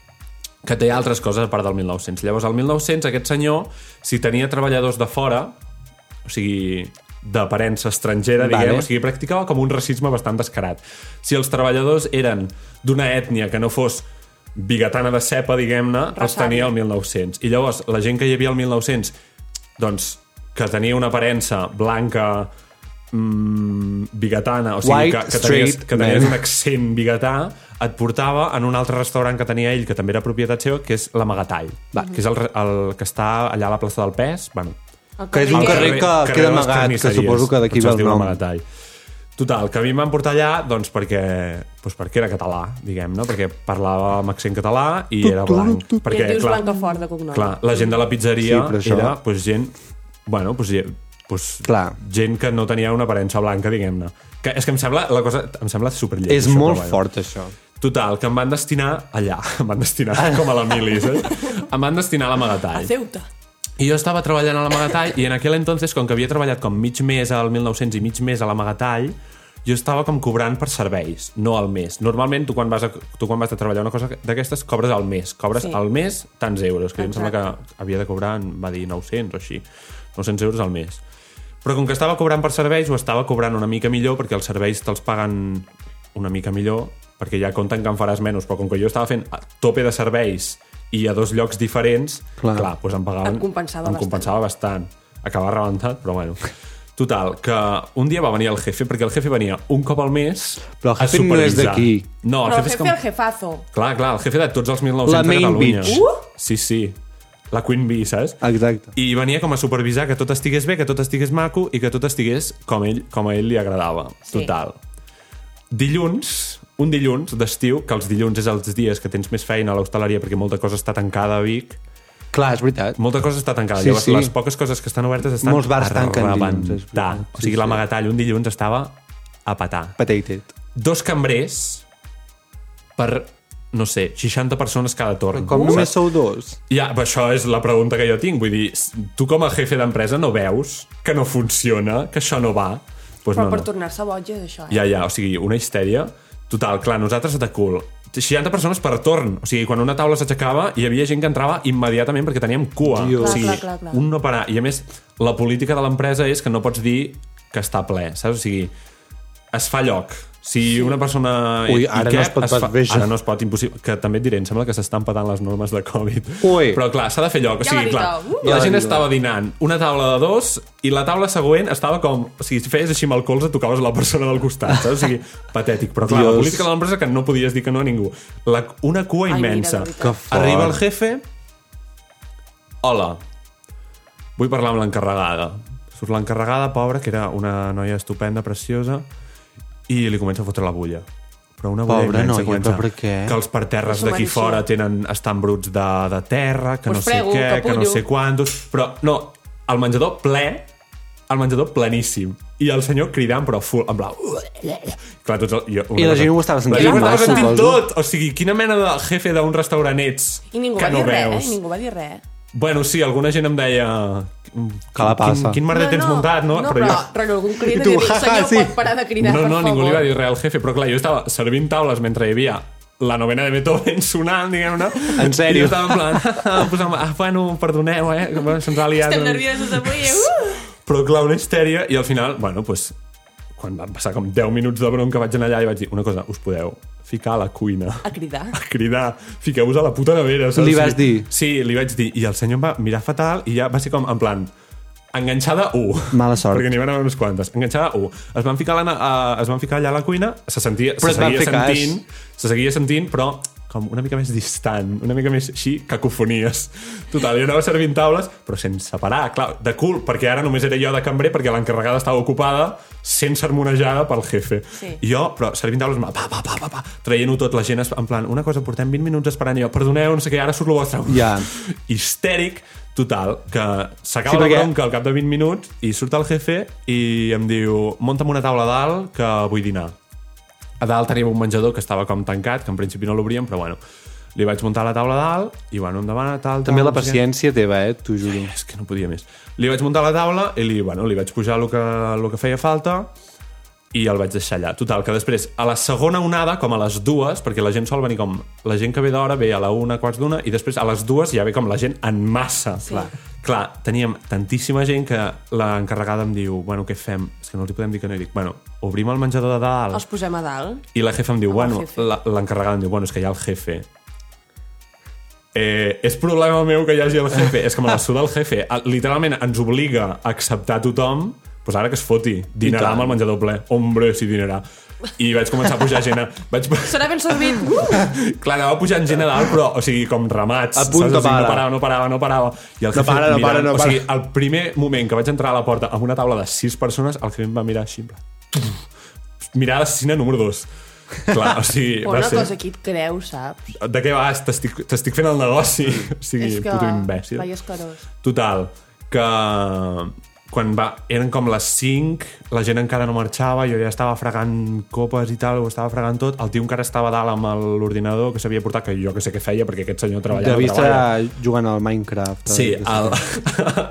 B: que té altres coses a part del 1900. Llavors, al 1900, aquest senyor, si tenia treballadors de fora, o sigui, d'aparença estrangera,
C: Vale.
B: diguem, o sigui, practicava com un racisme bastant descarat. Si els treballadors eren d'una ètnia que no fos bigatana de cepa, diguem-ne, els
D: Ressàbia.
B: tenia al 1900. I llavors, la gent que hi havia al 1900, doncs, que tenia una aparença blanca, mm, bigatana, o sigui,
C: White,
B: que, que tenies,
C: straight
B: que tenies
C: man.
B: un accent bigatà, et portava en un altre restaurant que tenia ell, que també era propietat seva, que és l'Amagatall, que és el, re- el que està allà a la plaça del Pes, bueno,
D: El
C: Que és un
D: Miquel.
C: carrer que queda amagat, que suposo que d'aquí ve el nom.
B: Maratall. Total, que a mi em van portar allà doncs, perquè, doncs, perquè era català, diguem, no? perquè parlava amb accent català i era blanc.
D: I
B: Perquè,
D: et dius
B: clar,
D: Blancafort de cognom.
B: clar, la gent de la pizzeria
C: Sí, però
B: sí,
C: això-
B: era doncs, gent... Bueno, doncs, ge- doncs,
C: Clar.
B: gent que no tenia una aparença blanca, diguem-ne. Que, és que em sembla, la cosa, em sembla superllet.
C: És molt fort, això.
B: Total, que em van destinar allà. Em van destinar com a la mili, saps? Em van destinar a l'amagatall.
D: A Ceuta.
B: I jo estava treballant a l'amagatall i en aquell entonces, com que havia treballat com mig mes al 1900 i mig mes a l'amagatall, jo estava com cobrant per serveis, no al mes. Normalment, tu quan vas a, tu quan vas a treballar una cosa d'aquestes, cobres al mes. Cobres
D: Sí.
B: sí. al mes tants euros, que Exacte. em sembla
D: Exacte.
B: que havia de cobrar, em va dir 900 o així, 900 euros al mes. Però com que estava cobrant per serveis, ho estava cobrant una mica millor, perquè els serveis te'ls paguen una mica millor, perquè ja compten que en faràs menys, però com que jo estava fent a tope de serveis i a dos llocs diferents,
C: Clar.
B: clar, clar doncs em pagaven
D: Et compensava
B: em
D: bastant.
B: compensava bastant. Acabava rebentat, però bueno. Total, que un dia va venir el jefe, perquè el jefe venia un cop al mes
C: Però el
B: a
C: jefe no és
B: supervisar.
C: d'aquí.
B: No, el
D: Però el
B: jefe és
D: jefe,
B: com...
D: el jefazo.
B: Clar, clar, el jefe de tots els 1.900
C: La
B: de
C: main
B: Catalunya.
C: bitch.
D: Uh!
B: Sí, sí. La Queen Bee, saps?
C: Exacte.
B: I venia com a supervisar que tot estigués bé, que tot estigués maco i que tot estigués com, ell, com a ell li agradava.
D: Sí.
B: Total. Dilluns, un dilluns d'estiu, que els dilluns és els dies que tens més feina a l'hostaleria perquè molta cosa està tancada a Vic,
C: Clar, és veritat.
B: molta cosa està tancada.
C: Sí,
B: Sí, Llavors,
C: sí.
B: sí. les poques coses que estan obertes estan
C: Molts bars
B: a
C: tanquen dilluns, és
B: rebentar.
C: veritat.
B: O sigui,
C: Sí, sí.
B: l'amagatall un dilluns estava a patar
C: Potated.
B: dos cambrers per, no sé, 60 persones cada torn.
C: Com
B: Saps?
C: només sou dos?
B: Ja, però això és la pregunta que jo tinc. Vull dir, s- tu com a jefe d'empresa no veus que no funciona, que això no va? Pues
D: Però
B: no,
D: per
B: no.
D: tornar-se boig és això, eh?
B: Ja, ja, o sigui, una histèria total. Clar, nosaltres de cul. 60 persones per torn. O sigui, quan una taula s'aixecava, hi havia gent que entrava immediatament perquè teníem cua.
C: Dios.
B: O
D: Clar,
B: sigui,
D: clar, clar, clar.
B: un no parar. I a més, la política de l'empresa és que no pots dir que està ple, saps? O sigui, es fa lloc. Si una persona...
C: Ui,
B: hi
C: ara no
B: cap,
C: es pot pas-
B: fa...
C: veja.
B: Ara no es pot, impossible. Que també et diré, em sembla que s'estan petant les normes de Covid.
C: Ui.
B: Però clar, s'ha de fer lloc. O
D: Ja
B: sigui,
D: la
B: clar,
D: diga, uh.
B: la gent
C: Ja la diga.
B: estava dinant una taula de dos i la taula següent estava com... O sigui, si feies així amb el colze, tocaves la persona del costat, saps? O sigui, patètic. Però clar,
C: Dios.
B: la política de l'empresa que no podies dir que no a ningú. La, una cua
D: Ai, mira,
B: immensa.
D: de veritat. Que
C: fort.
B: Arriba el jefe... Hola. Vull parlar amb l'encarregada. Surt l'encarregada, pobra, que era una noia estupenda, preciosa, i li comença a fotre la bulla. Però una bulla
C: Pobra
B: immensa
C: noia,
B: comença
C: però per què?
B: Que els parterres
D: No s'ho
B: d'aquí
D: mereixia.
B: fora tenen, estan bruts de, de terra, que
D: Us
B: no sé
D: prego,
B: què, que no
D: capullo.
B: sé quantos... Però, no, el menjador ple, el menjador planíssim. I el senyor cridant, però full, en blau... Clar, tots el, jo, una
C: I la
B: cosa-
C: gent ho estava sentint
B: La gent ho estava
D: massa,
B: sentint
C: suposo.
B: tot! O sigui, quina mena de jefe d'un restaurant ets
D: I ningú
B: que
D: va
B: no
D: dir res,
B: veus?
D: eh? I ningú va dir res.
B: Bueno, sí, alguna gent em deia...
C: Que la passa.
B: Quin, quin merder tens muntat, no?
D: No, però,
B: jo-
D: però, però algun crida
C: I tu,
D: i dir,
C: "Ja, ja,
D: senyor,
C: sí."
D: pot parar de cridar,
B: no,
D: per
B: no,
D: favor.
B: ningú li va dir res al jefe, però clar, jo estava servint taules mentre hi havia la novena de Beethoven sonant, diguem-ne.
C: En
B: I
C: sèrio?
B: jo estava en plan, posant, ah, bueno, perdoneu, eh? que, Bueno, se'ns ha liat.
D: Estem nerviosos avui, uh!
B: Però clar, una histèria, i al final, bueno, doncs, quan van passar com 10 minuts de bronca vaig anar allà i vaig dir, una cosa, us podeu ficar a la cuina
D: A cridar.
B: a cridar, fiqueu-vos a la puta nevera. Saps?
C: Li vas
B: Sí.
C: dir?
B: Sí, li vaig dir. I el senyor em va mirar fatal i ja va ser com, en plan, enganxada 1.
C: Mala sort.
B: Perquè n'hi van haver unes quantes. Enganxada 1. Es van ficar, a la, a, es van ficar allà a la cuina, se sentia, se
C: Però et van
B: seguia
C: fer cas.
B: sentint, se seguia sentint, però com una mica més distant, una mica més així, cacofonies. Total, jo anava servint taules, però sense parar, clar, de cul, perquè ara només era jo de cambrer, perquè l'encarregada estava ocupada, sent sermonejada pel jefe.
D: Sí.
B: I jo, però servint taules, pa, pa, pa, pa, pa, traient-ho tot, la gent es- en plan, una cosa, portem 20 minuts esperant, i jo, perdoneu, no sé què, ara surt el vostre.
C: Ja.
B: Histèric, total, que s'acaba
C: Sí,
B: sí, la
C: perquè-
B: bronca al cap de 20 minuts i surt el jefe i em diu, monta'm una taula a dalt que vull dinar. A dalt teníem un menjador que estava com tancat, que en principi no l'obríem, però bueno, li vaig muntar la taula a dalt i bueno, em demana tal, tal...
C: També la
B: no sé què.
C: paciència teva, eh? T'ho juro.
B: És que no podia més. Li vaig muntar la taula i li, bueno, li vaig pujar el que, el que feia falta i el vaig deixar allà. Total, que després, a la segona onada, com a les dues, perquè la gent sol venir com... La gent que ve d'hora ve a la una, quarts d'una, i després a les dues ja ve com la gent en massa.
D: Sí. Clar.
B: Clar, teníem tantíssima gent que l'encarregada em diu, bueno, què fem? És que no els hi podem dir que no. I dic, bueno, obrim el menjador de dalt.
D: Els posem a dalt.
B: I la jefa em diu,
D: Amb el
B: bueno,
D: jefe.
B: la- l'encarregada em diu, bueno, és que hi ha el jefe. Eh, és problema meu que hi hagi el jefe. és que me la suda el jefe. Ah, Literalment ens obliga a acceptar tothom pues ara que es foti.
C: I
B: Dinarà
C: tant.
B: amb el menjador ple. Hombre, si dinarà. I vaig començar a pujar gent a... Vaig...
D: Serà ben servit. Uh!
B: Clar, anava pujant gent a dalt, però, o sigui, com ramats.
C: A punt
B: saps?
C: de
B: O sigui,
C: para.
B: no parava, no parava, no parava. I el
C: No
B: jefe
C: para, no para,
B: mirant.
C: no
B: O
C: para.
B: sigui, el primer moment que vaig entrar a la porta amb una taula de sis persones, el jefe em va mirar així, en plan... Mirada assassina número dos. Clar, o sigui,
D: Però
B: va
D: una
B: ser...
D: cosa aquí et creu, saps?
B: De què vas? T'estic t'estic fent el negoci. O sigui,
D: és que...
B: puto imbècil.
D: Vai escarós.
B: Total, que quan va, eren com les 5, la gent encara no marxava, jo ja estava fregant copes i tal, ho estava fregant tot, el tio encara estava a dalt amb l'ordinador que s'havia portat, que jo que sé què feia, perquè aquest senyor treballava,
C: De vista
B: treballa.
C: jugant al Minecraft.
B: Sí,
C: eh?
B: el,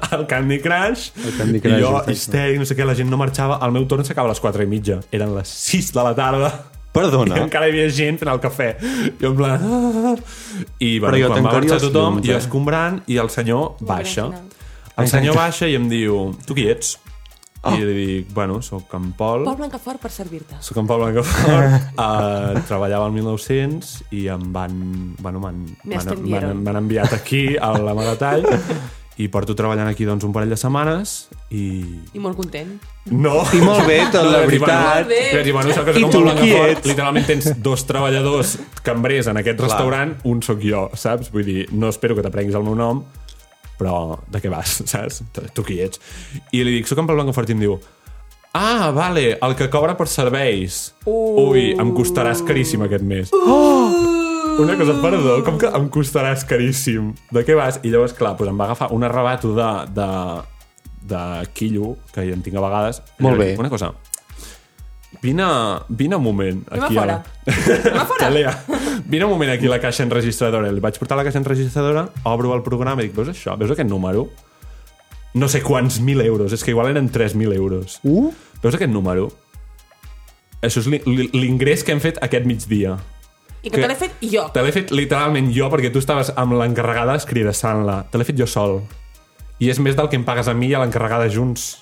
B: el Candy Crush.
C: El Candy Crush,
B: I jo,
C: exacte.
B: histèric, no sé què, la gent no marxava. El meu torn s'acaba a les 4 i mitja. Eren les 6 de la tarda.
C: Perdona.
B: I encara hi havia gent fent el cafè. Jo en plan... ah. I bueno,
C: Però jo
B: quan va
C: tancaria
B: marxar
C: els
B: tothom,
C: llums,
B: jo
C: eh?
B: escombrant, i el senyor baixa.
D: final.
B: El senyor baixa i em diu, tu qui ets?
C: Ah.
B: I li dic, bueno, sóc en Pol.
D: Pol Blancafort per servir-te.
B: Soc en Pau Blancafort, uh, treballava al 1900 i em van... Bueno, m'han-
D: Me
B: m'han-
D: ascendieron.
B: m'han m'han enviat aquí a l'amagatall i porto treballant aquí doncs, un parell de setmanes i...
D: I molt content.
B: No!
C: I molt bé, tot, la veritat.
D: bé.
B: I, bueno, això que
C: I
B: com
C: tu
B: el
C: qui
B: Blancafort,
C: ets?
B: Literalment tens dos treballadors cambrers en aquest restaurant, un sóc jo, saps? Vull dir, no espero que t'aprenguis el meu nom, però de què vas, saps? Tu, tu qui ets? I li dic, soc en Pau Blancafort i em diu Ah, vale, el que cobra per serveis.
D: Uh.
B: Ui, em costaràs caríssim aquest mes. Uh. Oh! Una cosa, perdó, com que em costaràs caríssim? De què vas? I llavors, clar, doncs em va agafar un arrebato de, de, de quillo, que ja en tinc a vegades.
C: Molt bé.
B: Una cosa, vine, vine un moment
D: Anem a
B: aquí
D: fora.
B: ara. Talea, vine un moment aquí a la caixa enregistradora. Li vaig portar la caixa enregistradora, obro el programa i dic, veus això? Veus aquest número? No sé quants mil euros, és que igual eren 3.000 euros.
C: Uh?
B: Veus aquest número? Això és l'in- l'in- l'ingrés que hem fet aquest migdia.
D: I que,
B: Que-
D: te l'he fet jo.
B: Te l'he fet literalment jo, perquè tu estaves amb l'encarregada escridassant-la. Te l'he fet jo sol. I és més del que em pagues a mi i a l'encarregada junts.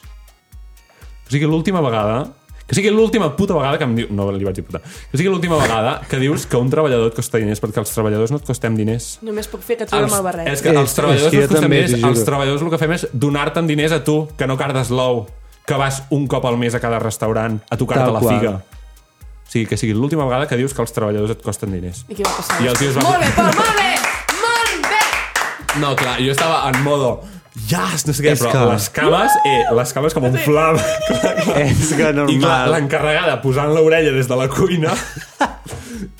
B: O sigui, l'última vegada... Que sigui l'última puta vegada que em diu... No, li vaig dir puta. Que sigui l'última vegada que dius que un treballador et costa diners, perquè els treballadors no et costem diners.
D: Només puc fer que tu amb el barret.
B: És que
C: És-
B: els treballadors
C: és que
B: no
C: jo
B: et costen
C: també,
B: diners,
C: t'ho juro.
B: els treballadors el que fem és donar-te'n diners a tu, que no cardes l'ou, que vas un cop al mes a cada restaurant a tocar-te
C: Tal
B: la
C: qual.
B: figa. O sigui, que sigui l'última vegada que dius que els treballadors et costen diners.
D: I què va passar?
B: I el tio es va-
D: Molt bé, Pol, molt bé! Molt bé!
B: No, clar, jo estava en modo yes, no sé què,
C: És
B: però
C: que-
B: les cames, eh, les cames com un flam. Clar, clar.
C: És que
B: I clar,
C: normal.
B: l'encarregada posant l'orella des de la cuina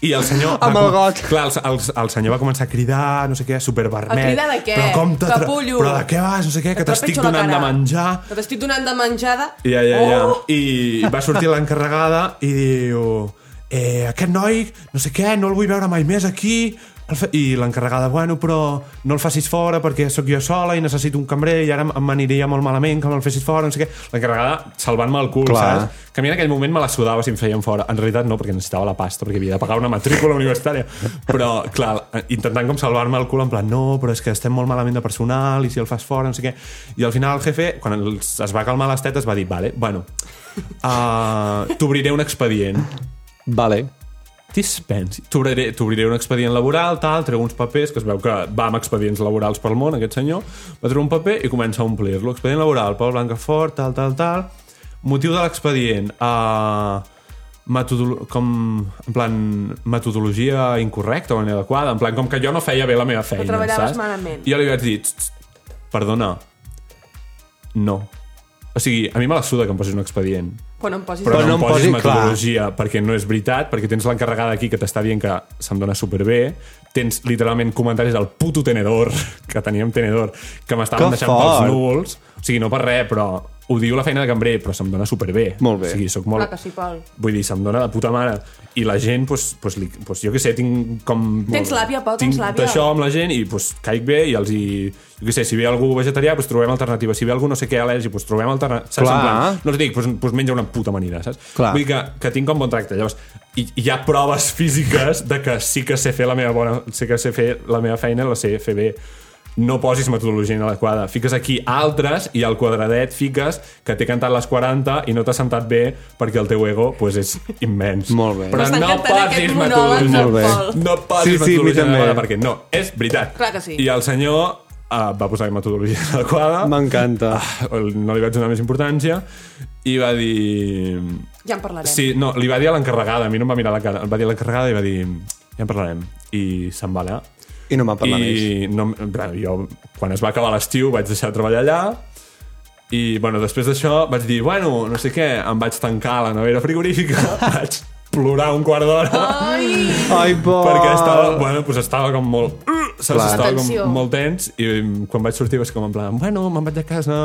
B: i el senyor... va
C: Amb el
B: com-
C: got.
B: Clar, el, el, el senyor va començar a cridar, no sé què, supervermet.
D: A cridar de què?
B: Però com te...
D: Capullo.
B: Però de què vas, no sé què, que
D: Et trepitjo
B: t'estic
D: la
B: donant
D: cara.
B: de menjar.
D: Que t'estic donant de menjada.
B: Ja, ja, ja.
D: Oh!
B: I va sortir l'encarregada i diu... Eh, aquest noi, no sé què, no el vull veure mai més aquí... El fa- I l'encarregada, bueno, però no el facis fora perquè sóc jo sola i necessito un cambrer i ara em- m'aniria molt malament que me'l fessis fora, no sé què. L'encarregada salvant-me el cul,
C: Clar.
B: saps? Que a mi en aquell moment me la sudava si em feien fora. En realitat no, perquè necessitava la pasta, perquè havia de pagar una matrícula universitària. Però, clar, intentant com salvar-me el cul, en plan, no, però és que estem molt malament de personal, i si el fas fora, no sé què. I al final el jefe, quan els- es va calmar les tetes, va dir, vale, bueno, uh, t'obriré un expedient.
C: Vale.
B: Dispensi. T'obriré t'obriré un expedient laboral, tal, treu uns papers, que es veu que va amb expedients laborals pel món, aquest senyor, va treure un paper i comença a omplir-lo. Expedient laboral, Pau Blancafort, tal, tal, tal. Motiu de l'expedient, uh, metodolo com, en plan, metodologia incorrecta o inadequada, en plan, com que jo no feia bé la meva feina,
D: treballaves
B: saps?
D: malament.
B: I jo li vaig dir, "Txt, txt, perdona, no. O sigui, a mi me la suda que em posis un expedient
D: Quan em posis...
B: però,
C: Però
B: no, em posis
C: posi-
B: metodologia, perquè no és veritat, perquè tens l'encarregada aquí que t'està dient que se'm dona superbé, tens literalment comentaris del puto tenedor, que teníem tenedor, que m'estaven
C: Que
B: deixant
C: fort.
B: pels núvols, o sigui, no per res, però ho diu la feina de cambrer, però se'm dona superbé.
C: Molt bé.
B: O sigui, soc molt...
D: Clar que sí, Pol.
B: Vull dir, se'm dona de puta mare. I la gent, doncs, pues, li, pues, jo què sé, tinc com...
D: Tens làbia, Pol, tens
B: tinc
D: làbia.
B: D'això amb la gent i pues, caic bé i els hi... Jo què sé, si ve algú vegetarià, pues, trobem alternativa. Si ve algú no sé què al·lèrgic, pues, trobem alternativa. Saps?
C: Clar.
B: En plan, no els dic, doncs, doncs menja una puta amanida, saps?
C: Clar.
B: Vull dir que, que tinc com bon tracte. Llavors, hi, hi ha proves físiques de que sí que sé fer la meva bona... Sí que sé fer la meva feina, la sé fer bé. No posis metodologia inadequada. Fiques aquí altres i al quadradet fiques que t'he cantat les 40 i no t'ha sentat bé perquè el teu ego pues, és immens.
C: Molt bé.
B: Però
D: M'està
B: no
D: encantant
B: posis
D: aquest monòleg
B: metodologia.
C: del
D: Molt bé.
B: No
C: Sí,
B: posis
C: sí, a mi
B: metodologia
C: també.
B: inadequada perquè no, és veritat.
D: Clar que sí.
B: I el senyor uh, va posar metodologia inadequada
C: M'encanta.
B: no li vaig donar més importància i va dir...
D: Ja en parlarem.
B: Sí, no, li va dir a l'encarregada, a mi no em va mirar la cara, va dir a l'encarregada i va dir ja en parlarem, i se'n va anar
C: I no m'ha parlat més.
B: i no, en plan, jo quan es va acabar l'estiu vaig deixar de treballar allà i bueno, després d'això vaig dir, bueno, no sé què, em vaig tancar a la nevera frigorífica, vaig plorar un quart d'hora
D: Ai!
C: Ai, bo.
B: perquè estava, bueno, pues estava com molt... Saps?
C: Oh. Mm, Clar.
B: Estava
D: Tensió.
B: com molt tens i quan vaig sortir va ser com en plan, bueno, me'n vaig a casa...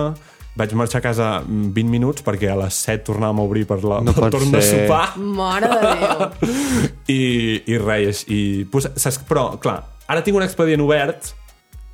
B: Vaig marxar a casa mm, 20 minuts perquè a les 7 tornàvem a obrir per la,
C: No
B: pel
C: pot
B: torn de
C: ser.
B: sopar
D: Mare de Déu.
B: i, i res. I, pues, saps, però, clar, ara tinc un expedient obert,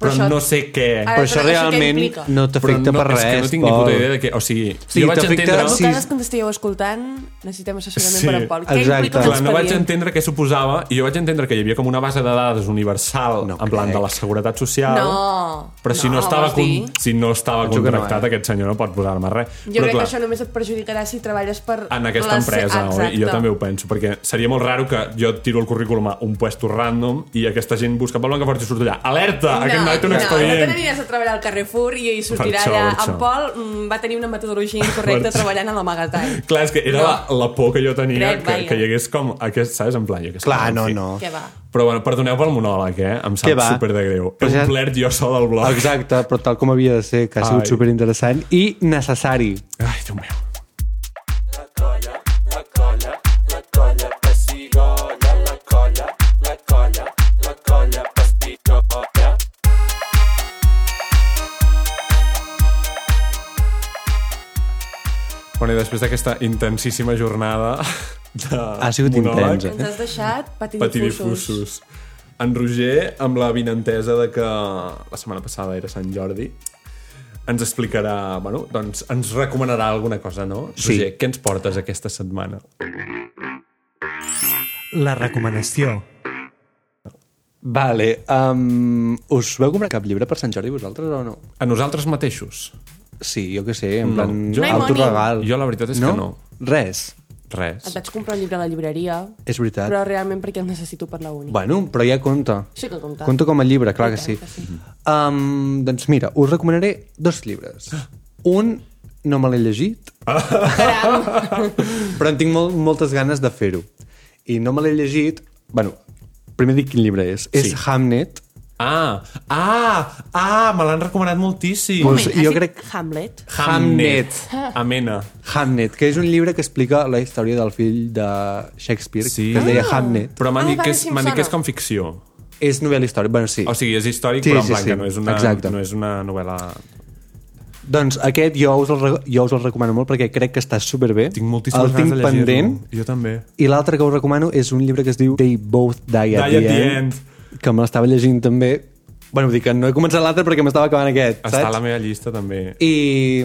B: però,
D: això-
B: no sé què...
D: Ara-
C: Però això
D: Però això què
C: realment
D: implica?
C: no
B: Però
C: t'afecta per res,
B: És que no tinc ni
C: Pol.
B: puta idea de què... O sigui,
C: Sí,
B: jo vaig
C: t'afecta-
B: entendre...
C: sí,
D: Vosaltres que ens estigueu escoltant, necessitem assessorament
B: Sí,
D: per en Pol. Què implica
C: exacte.
D: un
B: Clar, no vaig
D: expedient?
B: entendre què suposava i jo vaig entendre que hi havia com una base de dades universal
C: No
B: en plan
C: crec.
B: de la seguretat social
D: No,
B: però si
D: no,
B: no, estava
D: vols
B: con...
D: dir?
B: si no estava
C: Penso que no,
B: contractat
C: eh?
B: aquest senyor no pot posar-me res
D: Jo
B: però
D: crec
B: clar,
D: que això només et perjudicarà si treballes per...
B: en aquesta
D: les-
B: empresa, oi?
D: Exacte.
B: I jo també ho penso, perquè seria molt raro que jo tiro el currículum a un puesto random i aquesta gent busca pel Blancafort i surt allà, alerta,
D: No.
B: aquest donat un
D: No, no te
B: expedient.
D: n'aniràs a treballar al Carrefour i, i sortirà
B: Per això,
D: allà.
B: per
D: En
B: això.
D: Pol mm, va tenir una metodologia incorrecta
B: Per això.
D: treballant a l'amagatall.
B: Clar, és que era
D: No.
B: la, la por que jo tenia
D: Crec,
B: que,
D: vaja.
B: que hi hagués com aquest, saps? En plan, jo que sé,
C: Clar, no,
B: sí.
C: no.
D: Què va?
B: Però bueno, perdoneu pel monòleg, eh? Em
C: Què
B: sap
C: va?
B: super de greu.
C: Però
B: He
C: ja-
B: omplert jo sol el blog.
C: Exacte, però tal com havia de ser, que ha sigut
B: Ai.
C: superinteressant i necessari.
B: Ai, Déu meu. Bueno, i després d'aquesta intensíssima jornada de
C: Ha sigut intensa.
D: Ens has deixat patir,
B: patir
D: difusos.
B: difusos. En Roger, amb la vinentesa de que la setmana passada era Sant Jordi, ens explicarà, bueno, doncs ens recomanarà alguna cosa, no?
C: Sí.
B: Roger, què ens portes aquesta setmana?
E: La recomanació.
C: Vale, um, us veu comprar cap llibre per Sant Jordi vosaltres o no?
B: A nosaltres mateixos.
C: Sí, jo que sé,
B: No.
C: en plan
B: Jo- No
D: hi
C: autoregal.
B: Jo la veritat és
C: no?
B: que no.
C: Res,
B: Res.
D: Et vaig comprar un llibre a la llibreria,
C: és veritat.
D: però realment perquè el necessito per la uni.
C: Bueno, però ja compta.
D: Sí que compta.
C: Compta com a llibre, clar que sí.
D: que
C: Um, doncs mira, us recomanaré dos llibres. Un no me l'he llegit,
D: Caram!
C: però en tinc molt, moltes ganes de fer-ho. I no me l'he llegit... bueno, primer dic quin llibre és. Sí. És Hamnet.
B: Ah, ah, ah, me l'han recomanat moltíssim.
D: Moment,
C: Pues-
D: has
C: Doncs jo
D: dit
C: crec-
D: Hamlet?
B: Amena.
C: Hamnet, que és un llibre que explica la història del fill de Shakespeare,
B: Sí.
C: que es deia
B: Ah.
C: Hamnet.
B: Però m'han
D: Ah,
B: dit,
D: vale,
B: que és,
D: sí, em
B: m'han dit que és
D: sona.
B: com ficció.
C: És novel·la històrica, bueno, sí.
B: O sigui, és històric,
C: Sí,
B: però en
C: sí,
B: plan
C: sí.
B: que no és una,
C: Exacte.
B: no és una novel·la...
C: Doncs aquest jo us, el, re- jo us el recomano molt perquè crec que està superbé.
B: Tinc moltíssimes
C: el tinc
B: ganes de llegir-lo.
C: pendent.
B: Jo també.
C: I l'altre que us recomano és un llibre que es diu They Both Die at,
B: Die at
C: the,
B: the
C: end, que me l'estava llegint també. Bueno, vull dir que no he començat l'altre perquè m'estava acabant aquest,
B: Està a
C: saps?
B: la meva llista també.
C: I,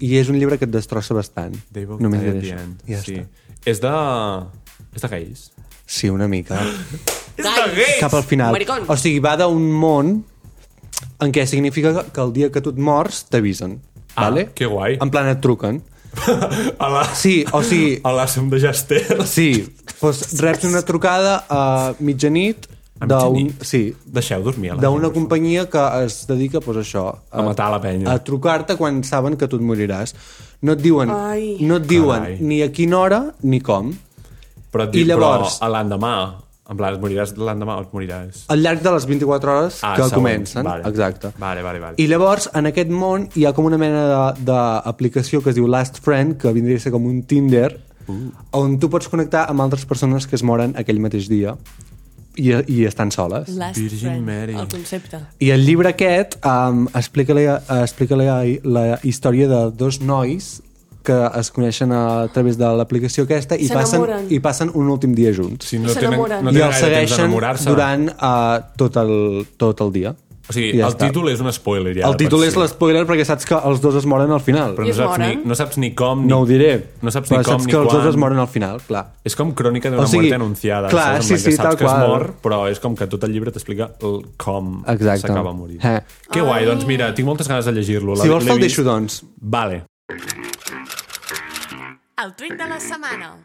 C: I és un llibre que et destrossa bastant.
B: They both
C: Només
B: die
C: diré
B: at the
C: això.
B: end.
C: Ja
B: sí.
C: sí. està.
B: És de... És de gais?
C: Sí, una mica.
B: Ah. És de gais!
C: Cap al final.
D: Maricón.
C: O sigui, va d'un món en què significa que- que el dia que tu et mors t'avisen.
B: Ah,
C: vale?
B: que guai.
C: En plan et truquen.
B: A la...
C: Sí, o sigui,
B: A la som de Jaster.
C: sí, doncs reps una trucada a mitjanit
B: A
C: d'un...
B: mitjanit?
C: Sí,
B: Deixeu dormir a la
C: d'una
B: gent,
C: companyia que es dedica pues, això,
B: A matar la penya.
C: a trucar-te quan saben que tu et moriràs no et diuen,
D: Ai.
C: no et diuen
B: Carai.
C: ni a quina hora ni com
B: Però, et dic,
C: I llavors-
B: però a l'endemà, en plan, et moriràs l'endemà o et moriràs.
C: al llarg de les 24 hores
B: Ah,
C: que
B: segons,
C: comencen
B: vale.
C: exacte
B: Vale, vale, vale.
C: i llavors en aquest món hi ha com una mena d'aplicació que es diu Last Friend que vindria a ser com un Tinder uh. on tu pots connectar amb altres persones que es moren aquell mateix dia i, i estan soles
D: Last
B: Virgin
D: Friend,
B: Mary.
D: el concepte.
C: I el llibre aquest um, explica, la, explica la, la història de dos nois que es coneixen a través de l'aplicació aquesta i passen,
D: S'enamoren.
C: i passen un últim dia junts.
B: Si no tenen,
D: S'enamoren.
B: no
C: I
B: tenen
C: els
B: gaire temps
C: segueixen
B: d'enamorar-se.
C: durant uh, tot, el, tot el dia.
B: O sigui,
C: I
B: ja el títol és un spoiler ja.
C: El
B: de
C: títol
B: per
C: és
B: si.
C: l'espoiler perquè saps que els dos es moren al final.
B: Però
D: I
B: no
D: es
B: saps, ni,
D: moren.
B: no saps ni com... Ni,
C: No ho diré.
B: No saps ni
C: però
B: com
C: saps
B: ni
C: que els dos
B: quan.
C: es moren al final, clar.
B: És com crònica d'una
C: O sigui,
B: muerte anunciada.
C: clar,
B: saps? En
C: sí,
B: plan que
C: sí,
B: saps
C: tal
B: que
C: qual.
B: es mor, però és com que tot el llibre t'explica el com
C: Exacte.
B: s'acaba morint.
C: Eh.
B: Que guai, doncs mira, tinc moltes ganes de llegir-lo.
C: Si
B: L'he-
C: vols
B: l'he
C: te'l
B: vist.
C: deixo, doncs.
B: Vale.
D: El tuit de la setmana.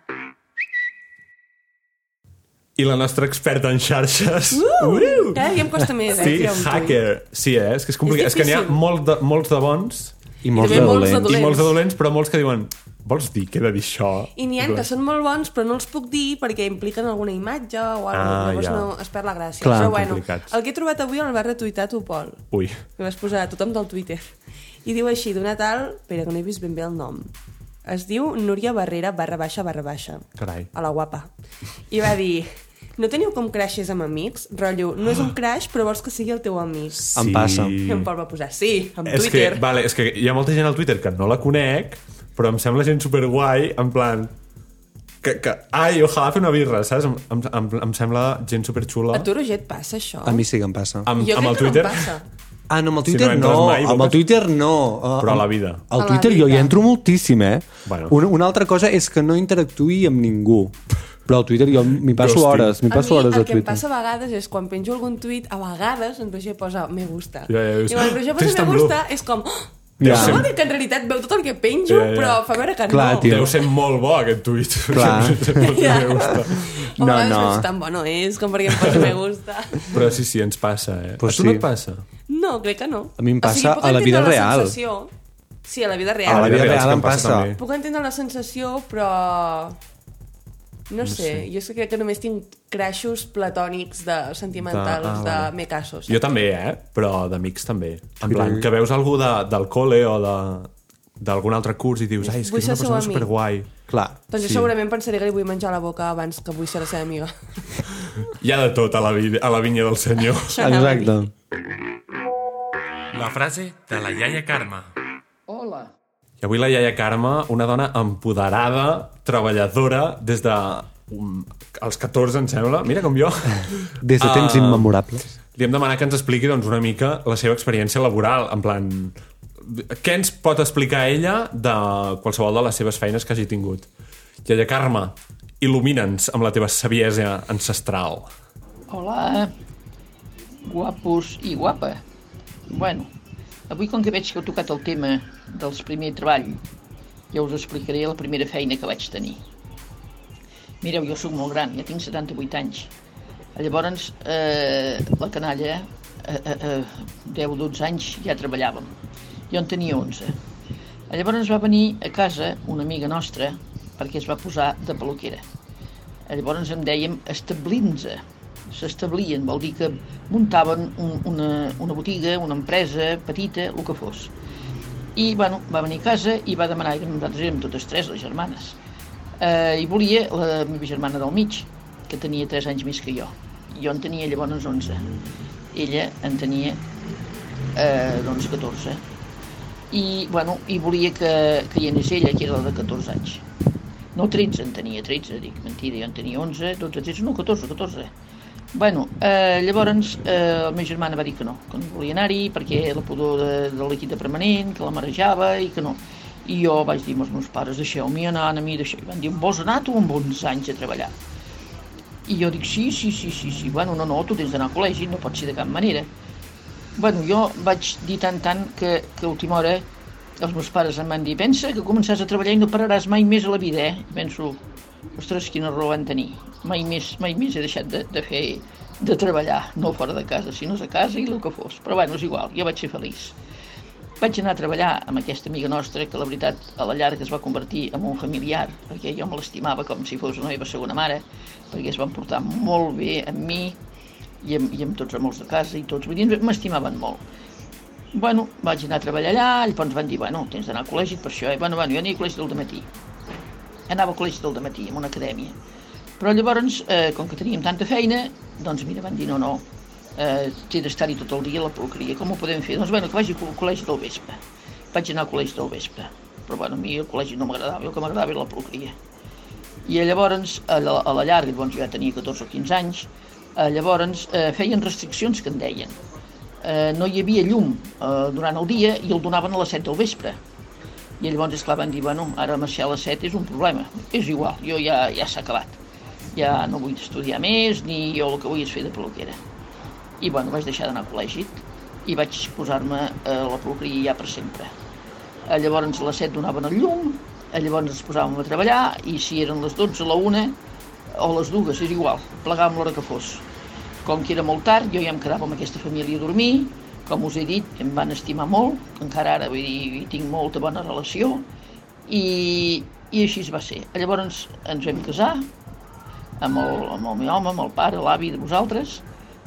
B: I la nostra experta en xarxes...
D: Uh! Cada dia em costa més,
B: Uhuh!
D: eh?
B: Sí,
D: tirar un tuit.
B: hacker. Sí, eh? És que és complicat. És,
D: És
B: que n'hi ha
D: difícil.
B: molt de, molts de bons
C: I
D: també molts
C: molts de
D: de
C: dolents.
D: dolents.
B: i molts de dolents, però molts que diuen vols dir que he de dir això?
D: I n'hi ha que són molt bons, però no els puc dir perquè impliquen alguna imatge o alguna cosa.
B: Ah,
D: Llavors
B: ja.
D: no es perd la gràcia.
C: Clar,
D: però bueno,
B: complicats.
D: el que he trobat avui el va retuitar tu, Pol.
B: Ui.
D: Li vas posar a tothom del Twitter. I diu així, d'una tal... Espera, que no he vist ben bé el nom. Es diu Núria Barrera barra baixa barra baixa.
B: Carai.
D: A la guapa. I va dir... No teniu com crashes amb amics? Rotllo, no és
B: Ah.
D: un crash, però vols que sigui el teu amic.
C: Em passa.
D: I en Pol va posar, sí, amb
B: És que,
D: Twitter.
B: vale, és que hi ha molta gent al Twitter que no la conec, però em sembla gent superguai, en plan... Que, que, ai, ojalà fer una birra, saps? Em, em, em, em sembla gent superxula.
D: A tu, Roger, et passa això?
C: A mi sí que em passa.
B: Amb,
D: jo crec
B: amb el
D: que
B: Twitter...
D: no em passa.
C: Ah, no, amb el
B: Si no
C: Twitter
B: entres
C: no.
B: mai,
C: Amb el
B: Lucas.
C: Twitter no. Ah,
B: Però a
C: amb-
B: la vida.
D: A
C: Al
D: la
C: Twitter jo hi
D: vida.
C: entro moltíssim, eh?
B: Bueno.
C: Una, una altra cosa és que no interactuï amb ningú. Però al Twitter jo m'hi passo
B: Ghosting.
C: hores. M'hi passo
D: a mi
C: hores a
D: el que em
C: Twitter.
D: passa a vegades és quan penjo algun tuit, a vegades en Roger posa me gusta.
B: Ja, ja, ja.
D: I quan el Roger posa
B: Trist
D: me
B: en
D: gusta és com... "Oh,
B: Deu,
C: Ja.
B: ser,
D: Vol dir que en realitat veu tot el que penjo,
B: Ja, ja.
D: però fa veure que
C: Clar,
D: no.
C: tio.
B: deu ser molt bo aquest tuit.
C: Clar.
B: Ja.
D: Ja.
C: No,
D: No, no.
C: no.
D: no. Tan bo no és com perquè em posi me gusta.
B: Però sí, sí, ens passa, eh?
C: Pues
B: a tu no
C: sí.
B: et passa?
D: No, crec que no.
C: A mi em passa
D: puc
C: a la vida
D: entendre
C: real.
D: sensació... Sí, a la vida real.
C: A la vida
B: real és
C: real
B: que
C: em
B: em passa
C: passa.
B: també.
D: Puc entendre la sensació, però... No, sé,
B: sé.
D: jo és que crec que només tinc crashos platònics de sentimentals,
B: ah,
D: de, ah,
B: vale.
D: de me casos.
B: Jo també, eh? Però d'amics també. En plan, que veus algú de, del col·le o de d'algun altre curs i dius, ai, és que
D: Vull
B: és una
D: ser seu
B: persona
D: amic."
B: superguai.
C: Clar.
D: Doncs jo
C: sí.
D: segurament pensaré que li vull menjar la boca abans que vull ser la seva amiga.
B: Hi ha de tot a la, vida, a la vinya del senyor.
D: Això anava a dir.
C: Exacte.
E: La frase de la iaia Carme.
B: I avui la iaia Carme, una dona empoderada, treballadora, des de um, els 14, em sembla, mira com jo,
C: Des de temps
B: Ah.
C: immemorables.
B: li hem demanat que ens expliqui doncs, una mica la seva experiència laboral, en plan... Què ens pot explicar ella de qualsevol de les seves feines que hagi tingut? Iaia Carme, il·lumina'ns amb la teva saviesa ancestral.
F: Hola, guapos i guapa. Bueno, avui com que veig que heu tocat el tema del primer treball, ja us explicaré la primera feina que vaig tenir. Mireu, jo sóc molt gran, ja tinc 78 anys. Llavors, eh, la canalla, eh, eh, eh, 10-12 anys ja treballàvem. Jo en tenia 11. Llavors va venir a casa una amiga nostra perquè es va posar de peluquera. Llavors en dèiem establint-se. S'establien, vol dir que muntaven un, una, una botiga, una empresa petita, el que fos. I bueno, va venir a casa i va demanar, que nosaltres érem totes tres, les germanes, eh, i volia la meva germana del mig, que tenia 3 anys més que jo. Jo en tenia llavors 11. Ella en tenia eh, doncs 14. I, bueno, i volia que, que hi anés ella, que era la de 14 anys. No, 13 en tenia, 13, dic, mentida, jo en tenia 11, 12, 13, no, 14, 14. Bueno, eh, llavors eh, la meva germana va dir que no, que no volia anar-hi perquè la pudor de, de l'equip de permanent, que la marejava i que no. I jo vaig dir als meus pares, deixeu-m'hi anar, a mi, deixeu I van dir, vols anar tu amb 11 anys a treballar? I jo dic, sí, sí, sí, sí, sí, bueno, no, no, tu tens d'anar a col·legi, no pot ser de cap manera. Bueno, jo vaig dir tant tant que, que a última hora els meus pares em van dir pensa que començaràs a treballar i no pararàs mai més a la vida, eh? I penso, ostres, quina raó van tenir. Mai més, mai més he deixat de, de fer, de treballar, no fora de casa, sinó a casa i el que fos. Però bueno, és igual, jo vaig ser feliç. Vaig anar a treballar amb aquesta amiga nostra que la veritat a la llarga es va convertir en un familiar perquè jo me l'estimava com si fos la meva segona mare perquè es van portar molt bé amb mi i amb, i amb tots els meus de casa i tots, vull dir, m'estimaven molt. Bueno, vaig anar a treballar allà, llavors van dir, bueno, tens d'anar a col·legi per això, eh? Bueno, bueno, jo anava a col·legi del matí. Anava a col·legi del matí, en una acadèmia. Però llavors, eh, com que teníem tanta feina, doncs mira, van dir, no, no, eh, t'he d'estar-hi tot el dia a la peluqueria, com ho podem fer? Doncs bueno, que vagi al col·legi del vespre. Vaig anar al col·legi del vespre. Però bueno, a mi el col·legi no m'agradava, el que m'agradava era la peluqueria. I eh, llavors, a la, a la llarga, llavors jo ja tenia 14 o 15 anys, eh, llavors eh, feien restriccions que en deien. Eh, no hi havia llum eh, durant el dia i el donaven a les 7 del vespre. I llavors, esclar, van dir, bueno, ara marxar a les 7 és un problema. És igual, jo ja, ja s'ha acabat. Ja no vull estudiar més, ni jo el que vull és fer de peluquera. I bueno, vaig deixar d'anar a col·legi i vaig posar-me a la peluqueria ja per sempre. Eh, Llavors a les 7 donaven el llum, eh, llavors ens posàvem a treballar i si eren les 12, la 1 o les 2, és igual, plegàvem l'hora que fos. Com que era molt tard, jo ja em quedava amb aquesta família a dormir, com us he dit, em van estimar molt, que encara ara vull dir, hi tinc molta bona relació, i, i així es va ser. Llavors ens vam casar, amb el, amb el meu home, amb el pare, l'avi de vosaltres,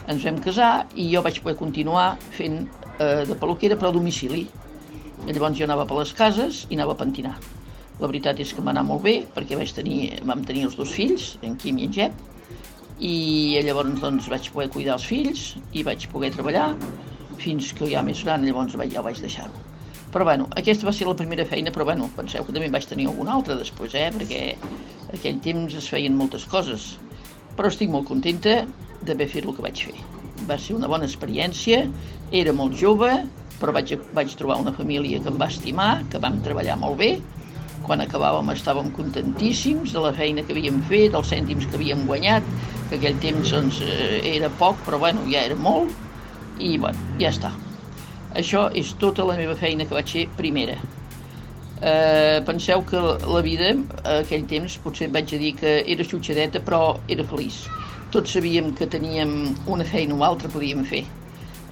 F: ens vam casar i jo vaig poder continuar fent eh, de peluquera però a domicili. I Llavors jo anava per les cases i anava a pentinar. La veritat és que m'anà molt bé perquè vaig tenir, vam tenir els dos fills, en Quim i en Jep, i llavors doncs, vaig poder cuidar els fills i vaig poder treballar fins que ja més gran, llavors vaig, ja vaig deixar-ho. Però bueno, aquesta va ser la primera feina, però bueno, penseu que també en vaig tenir alguna altra després, eh? perquè aquell temps es feien moltes coses. Però estic molt contenta d'haver fet el que vaig fer. Va ser una bona experiència, era molt jove, però vaig, vaig trobar una família que em va estimar, que vam treballar molt bé, quan acabàvem estàvem contentíssims de la feina que havíem fet, dels cèntims que havíem guanyat, que aquell temps doncs, eh, era poc, però bueno, ja era molt, i bueno, ja està. Això és tota la meva feina que vaig fer primera. Eh, penseu que la vida, a aquell temps, potser vaig a dir que era xutxadeta, però era feliç. Tots sabíem que teníem una feina o altra podíem fer.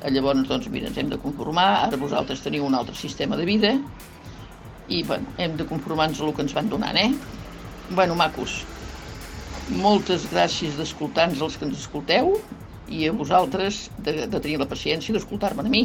F: Eh, Llavors, doncs, mira, ens hem de conformar, ara vosaltres teniu un altre sistema de vida, i, bueno, hem de conformar-nos amb el que ens van donant, eh? Bueno, macos, moltes gràcies d'escoltar-nos els que ens escolteu i a vosaltres de, de tenir la paciència d'escoltar-me a mi.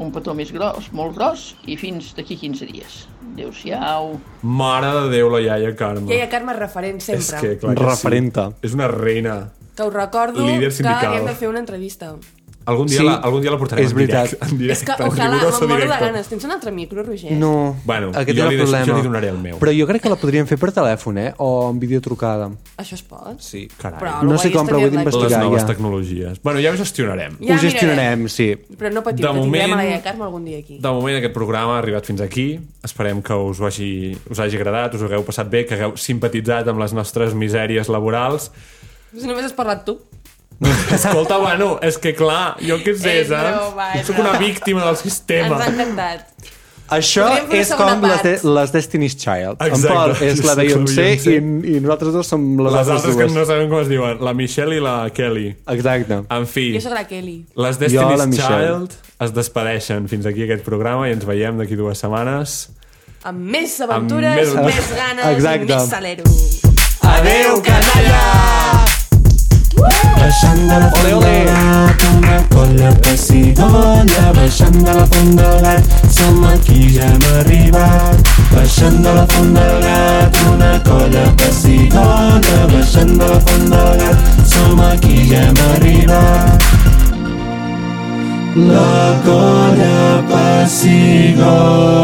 F: Un petó més gros, molt gros, i fins d'aquí 15 dies. Adéu-siau.
B: Mare de Déu, la iaia Carme.
D: Iaia Carme és referent sempre.
B: és que, clar que
C: Referenta.
B: Sí. És una reina.
D: Que us recordo
B: Líder
D: que
B: sindical.
D: hem de fer una entrevista.
B: Algun dia,
C: Sí.
B: la, algun dia la portarem
C: És
B: en directe.
C: veritat.
B: En directe,
D: és que,
B: en
D: ojalà,
B: rigoroso
D: me'n moro de
B: directe.
D: ganes. Tens un altre micro, Roger?
C: No.
B: Bueno, jo
C: aquest era
B: li
C: el
B: deixo-
C: problema.
B: jo li donaré el meu.
C: Però jo crec que la podríem fer per telèfon, eh? O en videotrucada.
D: Això es pot?
B: Sí, carai.
D: Però
B: Però...
D: el
C: No sé
D: guai és
C: com,
D: tenir-la
C: però vull
D: aquí.
B: Les
C: investigar. ja,
B: noves
C: ja.
B: tecnologies. Bueno, ja ho gestionarem.
D: Ja
C: Ho gestionarem, sí.
D: Però no
B: De
D: patiu, que moment...
B: moment-
D: tindrem a la Iaia Carme algun dia aquí.
B: De moment aquest programa ha arribat fins aquí. Esperem que us, ho hagi, us hagi agradat, us ho hagueu passat bé, que hagueu simpatitzat amb les nostres misèries laborals.
D: Si només has parlat tu.
B: Escolta, bueno, és que clar, jo què sé,
D: És broma,
B: saps?
D: és
B: Soc una
D: broma.
B: víctima del sistema.
D: Ens ha encantat.
C: Això
D: Podríem fer una
C: és
D: segona
C: com les,
D: part.
C: de, les Destiny's Child.
B: Exacte.
C: En Pol és la
B: Sí, sí,
C: Beyoncé
B: la Beyoncé.
C: i, i nosaltres dos som les,
B: Les altres
C: altres
B: que
C: dues.
B: no sabem com es diuen, la Michelle i la Kelly.
C: Exacte.
B: En fi,
D: Jo sóc la Kelly.
B: les
C: Jo, la
B: Destiny's
C: Michelle.
B: Child es despedeixen fins aquí aquest programa i ens veiem d'aquí dues setmanes.
D: Amb més aventures,
B: més-
D: amb més, més ganes
C: Exacte.
D: i més salero.
C: Adeu, canalla!
A: Baixant de la
C: Ole, ole.
A: fondolat, una colla que s'hi dona. Baixant de la fondolat, som aquí, ja hem arribat. Baixant de la fondolat, una colla que s'hi dona. Baixant de la fondolat, som aquí, ja hem arribat. La colla pessigona.